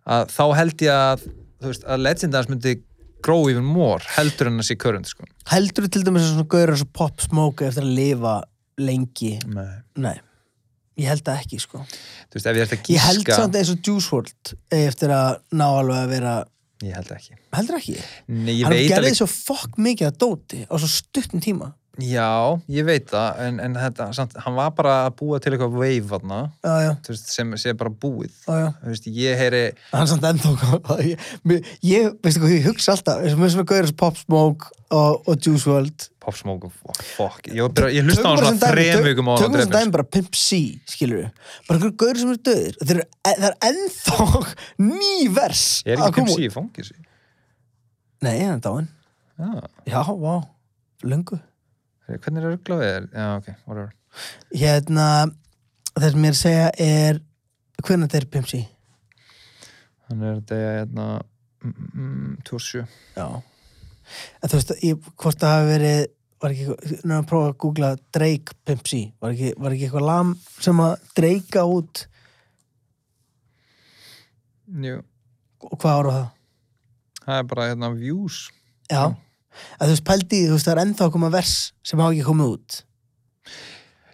að þá held ég að þú veist, að legendans myndi grow even more heldur en að sé current sko heldur til dæmis að svona gauður eins og pop smoke eftir að lifa lengi Nei. nei, ég held það ekki sko þú veist, ef ég ætti að ég held gíska samt eins og Juice WRLD eigi eftir að ná alveg að vera ég held ekki heldur ekki, Nei, ég hann veit gerði alveg, svo fokk mikið að dóti á svo stuttum tíma já, ég veit það en, en þetta, samt, hann var bara að búa til eitthvað wave þarna, já, já, þú veist, sem sé bara búið já, já þú veist, ég heyri hann samt ennþá (laughs) ég, mér- ég, veistu hvað, ég hugsa alltaf eins og mér svona gauður eins og pop smoke og, og Juice WRLD Pop Smoke og fuck, fuck. ég, var bara, ég hlusta á hann svona þrem vikum á tökum hann þessum dæmi bara Pimp C skilur við, bara einhverju gaur sem eru döðir þeir eru, e- það er ennþá (laughs) ný vers ég er að ekki koma Pimp út. C í fangis nei, hann er dáinn, hvernig já, vá, löngu er örglað við þér? já, ok, whatever hérna, það sem ég er að segja er hvernig þetta er Pimp C hann er degja hérna mm, mm, 27 já en þú veist, ég, hvort það hafi verið var ekki, eitthvað- nú erum að prófa að googla Drake Pimp C, var ekki, var ekki eitthvað lam sem að dreika út Jú. og hvað ára það? það er bara hérna views Já, að þú veist pældi, í því, þú veist það er ennþá að koma vers sem hafa ekki komið út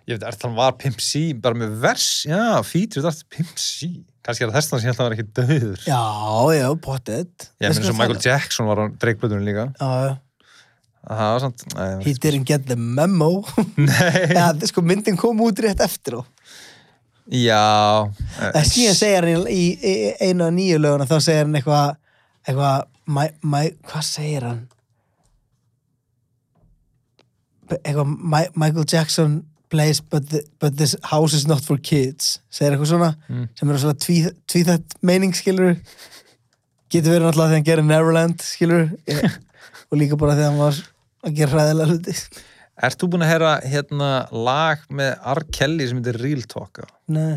ég veit, er það var Pimp C bara með vers, já, feature það er Pimp C kannski er það þess að sé að það var ekki döður Já, já, pottet Ég minn eins og Michael Jackson var á dreikblöðunum líka Já, Það var samt nei, he didn't get the memo (laughs) Nei Já, sko myndin kom út rétt eftir á Já En síðan segir hann í, í, í einu af nýju löguna þá segir hann eitthvað eitthvað, my, my, hvað segir hann? Eitthvað, my, Michael Jackson plays but, the, but this house is not for kids segir eitthvað svona Mm. sem eru svona tví, tvíþætt meining skilur getur verið náttúrulega þegar hann gerir Neverland skilur og líka bara þegar hann var að gera hræðilega hluti Ert þú búin að heyra hérna lag með R. Kelly sem heitir Real Talk eða? Nei,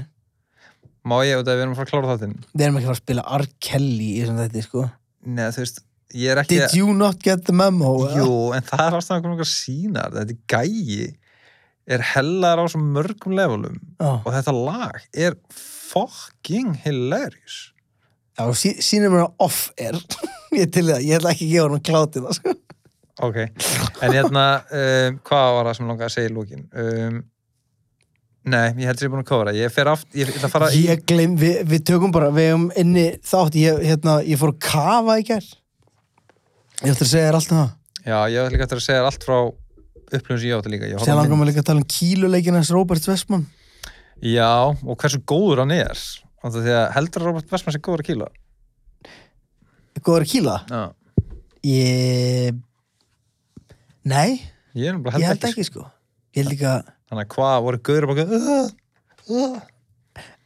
Má ég, þetta við erum að fara að klára þáttinn við erum ekki að fara að spila R. Kelly í þessum þetta sko Nei, þú veist, ég er ekki Did you not get the memo? eða? Jú, en það er ástæðan komið okkar sínar Þetta er gæi er hellar á svo mörgum levelum Já. og þetta lag er fucking hilarious Já, sí, sínir mér á off-air Ég er (laughs) til í það, ég ætla ekki að gefa hann klátið það sko. Ok, en hérna, um, hvað var það sem langaði að segja í lókin? Um, nei, ég heldur ég er búin að kofra. Ég fer aft, ég ætla að fara í... Ég gleym, við, við tökum bara Við hefum inni þátt Ég, hérna, ég fór að kafa í gær Ég ætla að segja þér allt um það Já, ég ætla líka eftir að segja þér allt frá upplöfum sem ég átti líka. Ég horfði á Sér langar mynd- mig líka að tala um kíluleikina hans Robert Westman Já, og hversu góður hann er. Þannig að því að heldur að Robert Westman sé góður að kýla. Góður að kíla Já, Ég Nei, ég er náttúrulega ég sko. held, sko. held ekki sko Ég held líka Þannig að hvað voru góður að baka...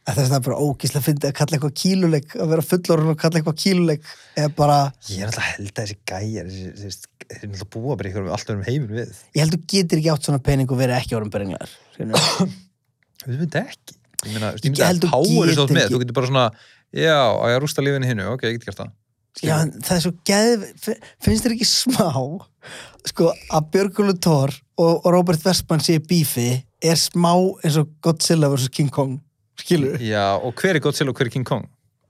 að þess að það er bara ógíslega að finna að kalla eitthvað kíluleik að vera fullorinn og kalla eitthvað kíluleik eða bara, Ég er alltaf að held að þessi gæjar, þessi, þessi, þessi, þeir náttúrulega búa bara ykkur um alltaf um heimin við. ég held þú getur ekki átt svona pening og verið ekki orðin brenglar já, Við myndum ekki. Ég meina, Ég ég myndi að held þú power er getur stótt með, ekki. þú getur bara svona, já, á ég að rústa lífinu hinnu, ok, ég get gert það. Skilur. en það er svo geð finnst þér ekki smá sko, að Björgulur Thor og, og Robert Westman sé í bífi er smá eins og Godzilla vs. King Kong skilur Já, og hver er Godzilla og hver er King Kong?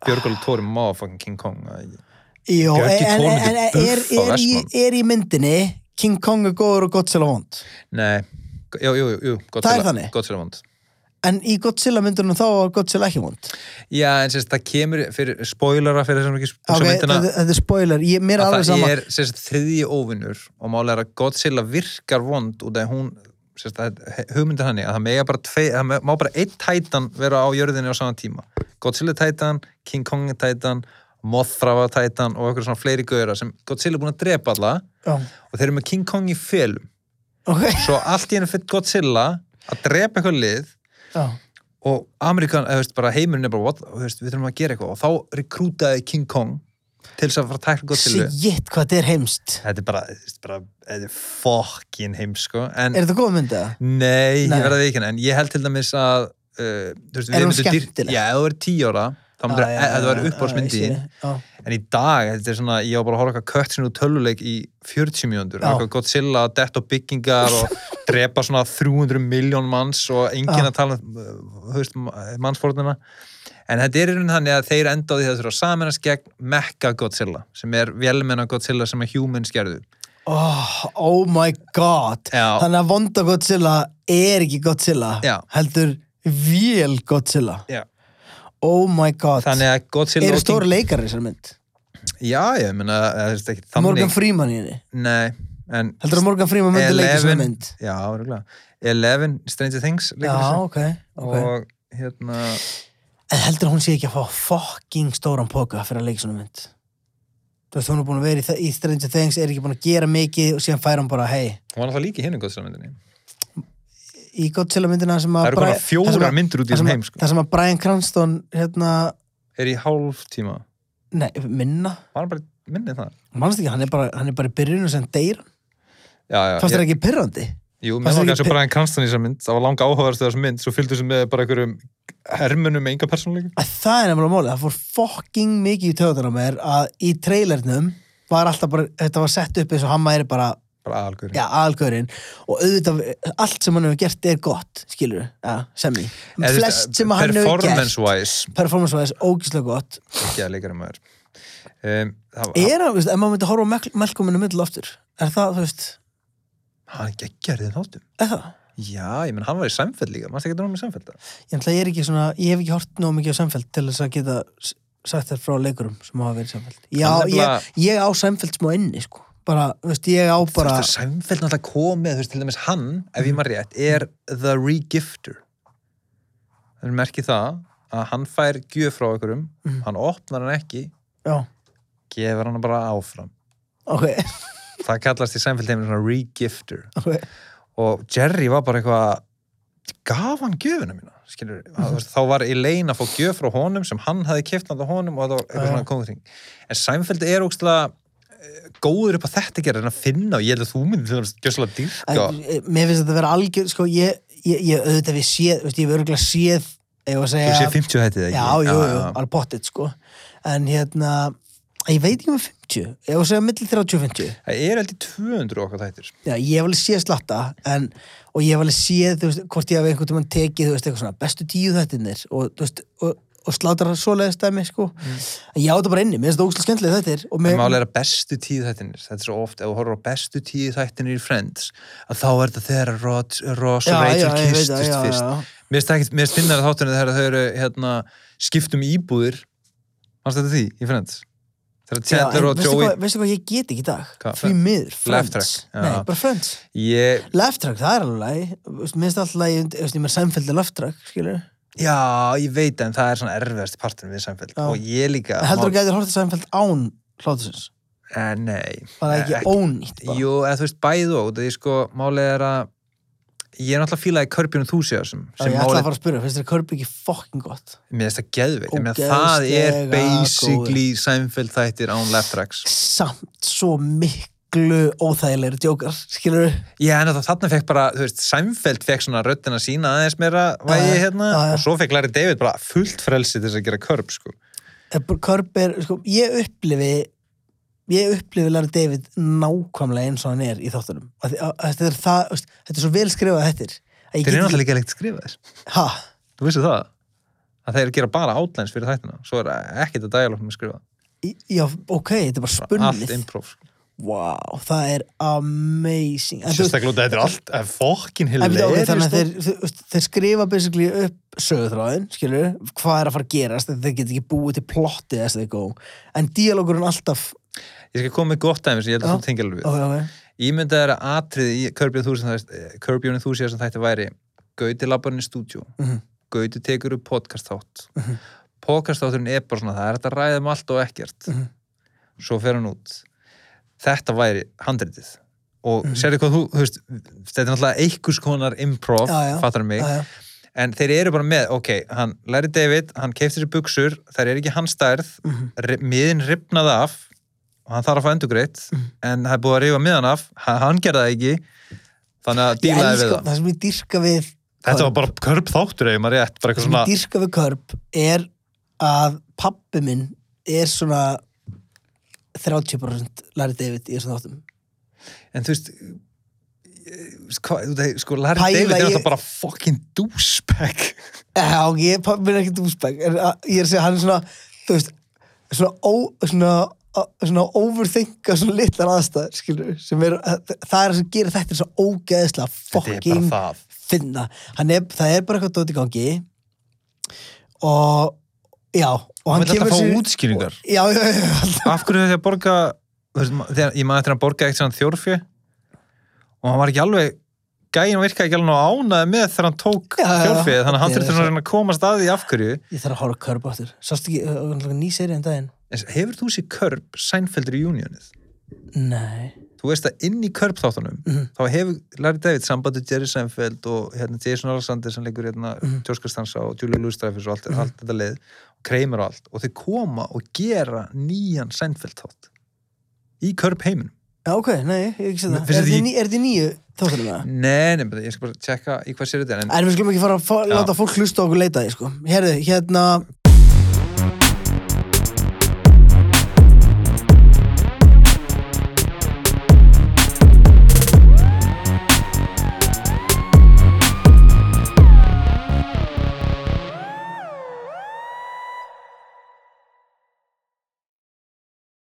Björgóli Tóri má að fucking King Kong. eða ekki? Jó, Björgi en, en, Thor myndi en er, er, buffa í, Vestman. er í myndinni King Kong er góður og Godzilla vond Nei, jú, jú, jú, jú Godzilla. þannig. Godzilla vond. en í Godzilla myndunum þá var Godzilla ekki vond Já, en sérst, það kemur fyrir spoilera fyrir þessum ekki Ok, okay, myndina. þetta, þetta er spoiler, ég, mér er að alveg það sama er sérst þriðji óvinnur og málega er að Godzilla virkar vond út af hún sérst, að, hugmyndin hann er að það, mega bara tvei, það me- má bara einn tætan vera á jörðinni á sama tíma Godzilla tætan, King Kong tætan Mothrava tætan og einhver svona fleiri gauðra sem Godzilla er búin að drepa alla Já, og þeir eru með King Kong í felum Ok, svo allt í henni fyrir Godzilla að drepa eitthvað lið já, og Amerikan, eða veist, bara heimurinn er bara what, veist, við þurfum að gera eitthvað og þá rekrútaði King Kong til þess að fara að tækla Godzilla shit hvað þetta er heimst Þetta er bara, þú veist, bara þetta er fokkin heimsko en Er þetta góð mynd eða? nei, Nei. ég verði ekki en ég held til dæmis að uh, þú veist, Er hún við myndum dyr- skemmtileg? Ah, Já, ef þú verður tíu ára þá myndir Já, já, að það já, verður já, uppáhaldsmyndi ég sé það. en í dag, þetta er svona, ég á bara að horfa eitthvað kött sinni úr töluleik í 40 mjöndur Já. eitthvað Godzilla, dett og byggingar (laughs) og drepa svona 300 miljón manns og enginn Já. að tala um, uh, þú veist, mannsfórnina en þetta er í raun þannig að þeir enda á því að þeir þurfa að saminast gegn Mekka Godzilla sem er velmenna Godzilla sem að humans gerðu Já. Oh, oh my god Já. Þannig að vonda Godzilla er ekki Godzilla Já. heldur vél Godzilla Já. Oh my god Þannig að Godzilla Eru og stóri King- leikar í þessar mynd? Já, ég meina, það er ekki þannig Morgan Freeman í henni Nei, en Heldur að Morgan Freeman myndi leika í þessar mynd? Já, rúglega Eleven, Stranger Things leikur Já, þessu. ok, ok Og hérna En heldur hún sé ekki að fá fucking stóran póka fyrir að leika svona mynd? Þú veist, hún er búin að vera í, þe- í Stranger Things, er ekki búin að gera mikið og síðan fær hún bara, hei, Hún var alltaf líka í hinu Godzilla myndinni í Godzilla myndina sem að... Það eru konar Bri- fjórar það sem að- myndir út í það sem þessum að- heim sko. Það sem að Brian Cranston, hérna, Er í hálf tíma nei, minna, Var hann bara minnið það? mannst ekki, hann er bara, hann er bara í byrjunum sem deyr, Já, já fannst ég- þér ekki pyrrandi? Jú, mér fannst þér var ekki kannski pe- bara enn kranstan í þessar mynd Það var langa áhugaverðstu þessar mynd Svo fylgdu sem með bara einhverjum hermunum með enga persónuleika Að það er nefnilega málið, það fór fucking mikið í töðunar á mér að í trailernum var alltaf bara, þetta var sett upp eins og hann væri bara Bara algjörn já, aðalgörinn og auðvitað, allt sem hann hefur gert er gott skilur, já, semmi flest sem hann hefur Performance gert wise performance-wise, ógíslega gott Ekki að leikari maður um, það, er hann, veist, ef maður myndi horfa á Mel- Malcolminu middl aftur, er það, þú veist Hann er geggjær í þeim þáttum. er það, Já, ég menn hann var í Seinfeld líka, mannst ekki að hann var í Seinfeld það? ég ætla ég er ekki svona ég hef ekki hort nóg mikið á samfæld til þess að geta s- sagt þér frá leikurum sem hafa verið samfæld já, Hann nefnilega- ég, ég á samfæld smá inni, sko bara, þú veist, ég á Þú bara Mhm. veist að Seinfeld náttúrulega komið, þú veist, til dæmis hann, ef ég maður rétt, er The Regifter. Það er merkið það að hann fær gjöf frá ykkurum, hann opnar hann ekki, Mhm. já, gefur hann bara áfram. ok, (laughs) Það kallast í Seinfeld heimur svona Regifter. ok Og Jerry var bara eitthvað, gaf hann gjöfuna mína, skilur Mhm. við. Þá var Elaine að fá gjöf frá honum sem hann hafi kipt hann á honum og það var eitthvað Já. svona kongurting. En Seinfeld er ógstlega góður upp að þetta gera en að finna og ég held að þú myndir þú veist gjössalega Æ, dýrka eh, mér finnst þetta að vera algjör sko, ég, ég, ég auðvitað við séð veist, ég hef örgulega séð ég var að þú segja, sé 50 hættið ekki já, jú, jú, já. alveg bóttið sko. en hérna ég veit ekki um 50, ég var að segja millir 30 og 50, það er heldur 200 okkar hættir já, ég hef alveg séð slatta en, og ég hef alveg séð þú veist, hvort ég hef einhvern tímann tekið, þú veist, eitthvað svona bestu tíu þættinir og, þú veist, og, og slátar svoleiðist dæmi, sko en ég á þetta bara inni, mér finnst þetta ógæslega skemmtilega þættir og Mm. en mér, málega er að bestu tíu þættinir þetta er svo oft, ef þú horfður á bestu tíu þættinir í Friends að þá er þetta þegar Ross, Ross og ég Rachel veit það, kistust já, fyrst já, já. mér finnst ekkert- mér stinnar þáttunni þegar þau eru hérna, skiptum íbúðir fannst þetta því í Friends Já, þegar en Chandler og veistu Joey hvað, veistu hvað ég get ekki í dag? Hvað, Því Friends? miður, Laugh Friends track, já. Nei, bara Friends ég, Left track, það er alveg lagi. Þú veist, Mér finnst alltaf lagi, þú veist, ég með sæmfældi left track, skilur. já, ég veit en það er svona erfiðast partin við samfél Já. og ég líka Heldur þú ekki að þér hortið sæmfæld án hlátusins? Eh, nei Bara Eh, ekki ónýtt bara. Jú, eða þú veist bæð og það er sko, málið er að ég er náttúrulega fílaði Kirby Enthusiasm sem ég ætla málið að fara að spyrja, finnst þér Kirby ekki fucking gott? Mér finnst það geðveikt, ég meina það er Ógeðslega basically Seinfeld þættir án left tracks. Samt svo miklu óþægilegri djókar, skilur við? Ég en þetta þarna fekk bara, þú veist, Seinfeld fekk svona röddina sína aðeins meira vægi já, hérna já, já. og svo fekk Larry David bara fullt frelsi til þess að gera körp, sko. Kirby Eh, er, sko, ég upplifi ég upplifi Larry David nákvæmlega eins og hann er í þáttunum Af því- af- af- þetta er það, veist, þetta er svo vel skrifað þetta Þeir eru náttúrulega ekki að leikt skrifa þess. ha, Þú vissi það? Að þeir gera bara outlines fyrir þættina, svo er ekkit að dialogum að skrifa. í- já, ok, þetta er bara Allt spunnið improv, sko. wow, það er amazing En þú veist, Sérstaklega út að þetta er allt, sko. það er fokkin En við ákveð þannig að hilarious. þeir, þú veist, þeir skrifa basically upp sögutráðin, skilur, hvað er að fara að gerast, þeir get ekki búið til plotti þess að þeir gó. En díalógurinn alltaf, Ég skal koma með gott dæmi sem ég held að Já. þú tengja alveg við. ok, ok, Ímyndað Ímyndaður að atrið í Kirby Enthusiasm þætti- Kirby Enthusiasm þætti væri Gauti labbarinn í stúdíu Mhm. Gauti tekur upp podcast þátt podcast þátturinn er bara svona það er þetta ræðum um allt og ekkert Mhm. svo fer hann út þetta væri handritið og Mhm. mm -hmm. sérðu hvað þú, þú veist þetta er náttúrulega einhvers konar improv Já, já. fattar mig, aðja, en þeir eru bara með ok, hann læri David, hann keifti sér buksur þær er ekki hans stærð Mhm. ri- miðin ripnaði af og hann þarf að fá endugreitt Mhm. en það er búið að rifa miðan af hann, hann gerði það ekki þannig að ég dílaði við elska, það það sem ég dyrka við, þetta var bara körp þáttur ef maður rétt bara það eitthvað sem ég svona dyrka við körp er að pappi minn er svona 30% Larry David í þessum þáttum. en þú veist ég- veist hvað, þú veist, sko Larry Pæla David er í- alltaf bara fucking douchebag Já, ég pappi minn er ekki dúsbæk, en að- ég er að segja, hann er svona, þú veist, svona, ó, svona, á- svona overthinka svona litlar aðstæður, skilur, við, sem er, það er það sem gerir þetta svo ógeðslega þetta er bara fucking það finna. Hann er, það er bara eitthvað dót í gangi og, já, og hann hann vil alltaf kemur fá sér, útskýringar já, já, já, já, alltaf. af hverju þessi að borga þú veist, ma- þegar, ég maður eftir að hann borga eitt svona þjórfi og hann var ekki alveg gæin virkaði ekki alveg nú ánaði með þegar hann tók Já, já, já. þjórfið þannig að hann Þetta er þurfti svona að reyna að komast að því af hverju Ég þarf að horfa körp áttur. Sástu ekki, það var ný serið en daginn? En hefur þú séð Körp Seinfeld reunionið? Nei. Þú veist að inn í Körp þáttunum Mhm. þá hefur Larry David sambandi Jerry Seinfeld og hérna, Jason Alexander sem leikur hérna, Mhm. mm -hmm. og Julie Louis-Dreyfus og allt, allt þetta leið og Kramer og allt og þau koma og gera nýjan Seinfeld þátt í Körp heiminum Já, ok, nei, ég hef ekki séð Men það. finnst Er þér þið ekki- ný- er þetta í nýju þáttunum það? Nei, nefnir, ég skal bara tjekka í hvað sér þetta er, en En við skulum ekki fara að fá, Já. láta fólk hlusta á okkur leita því, sko. Herðu, hérna,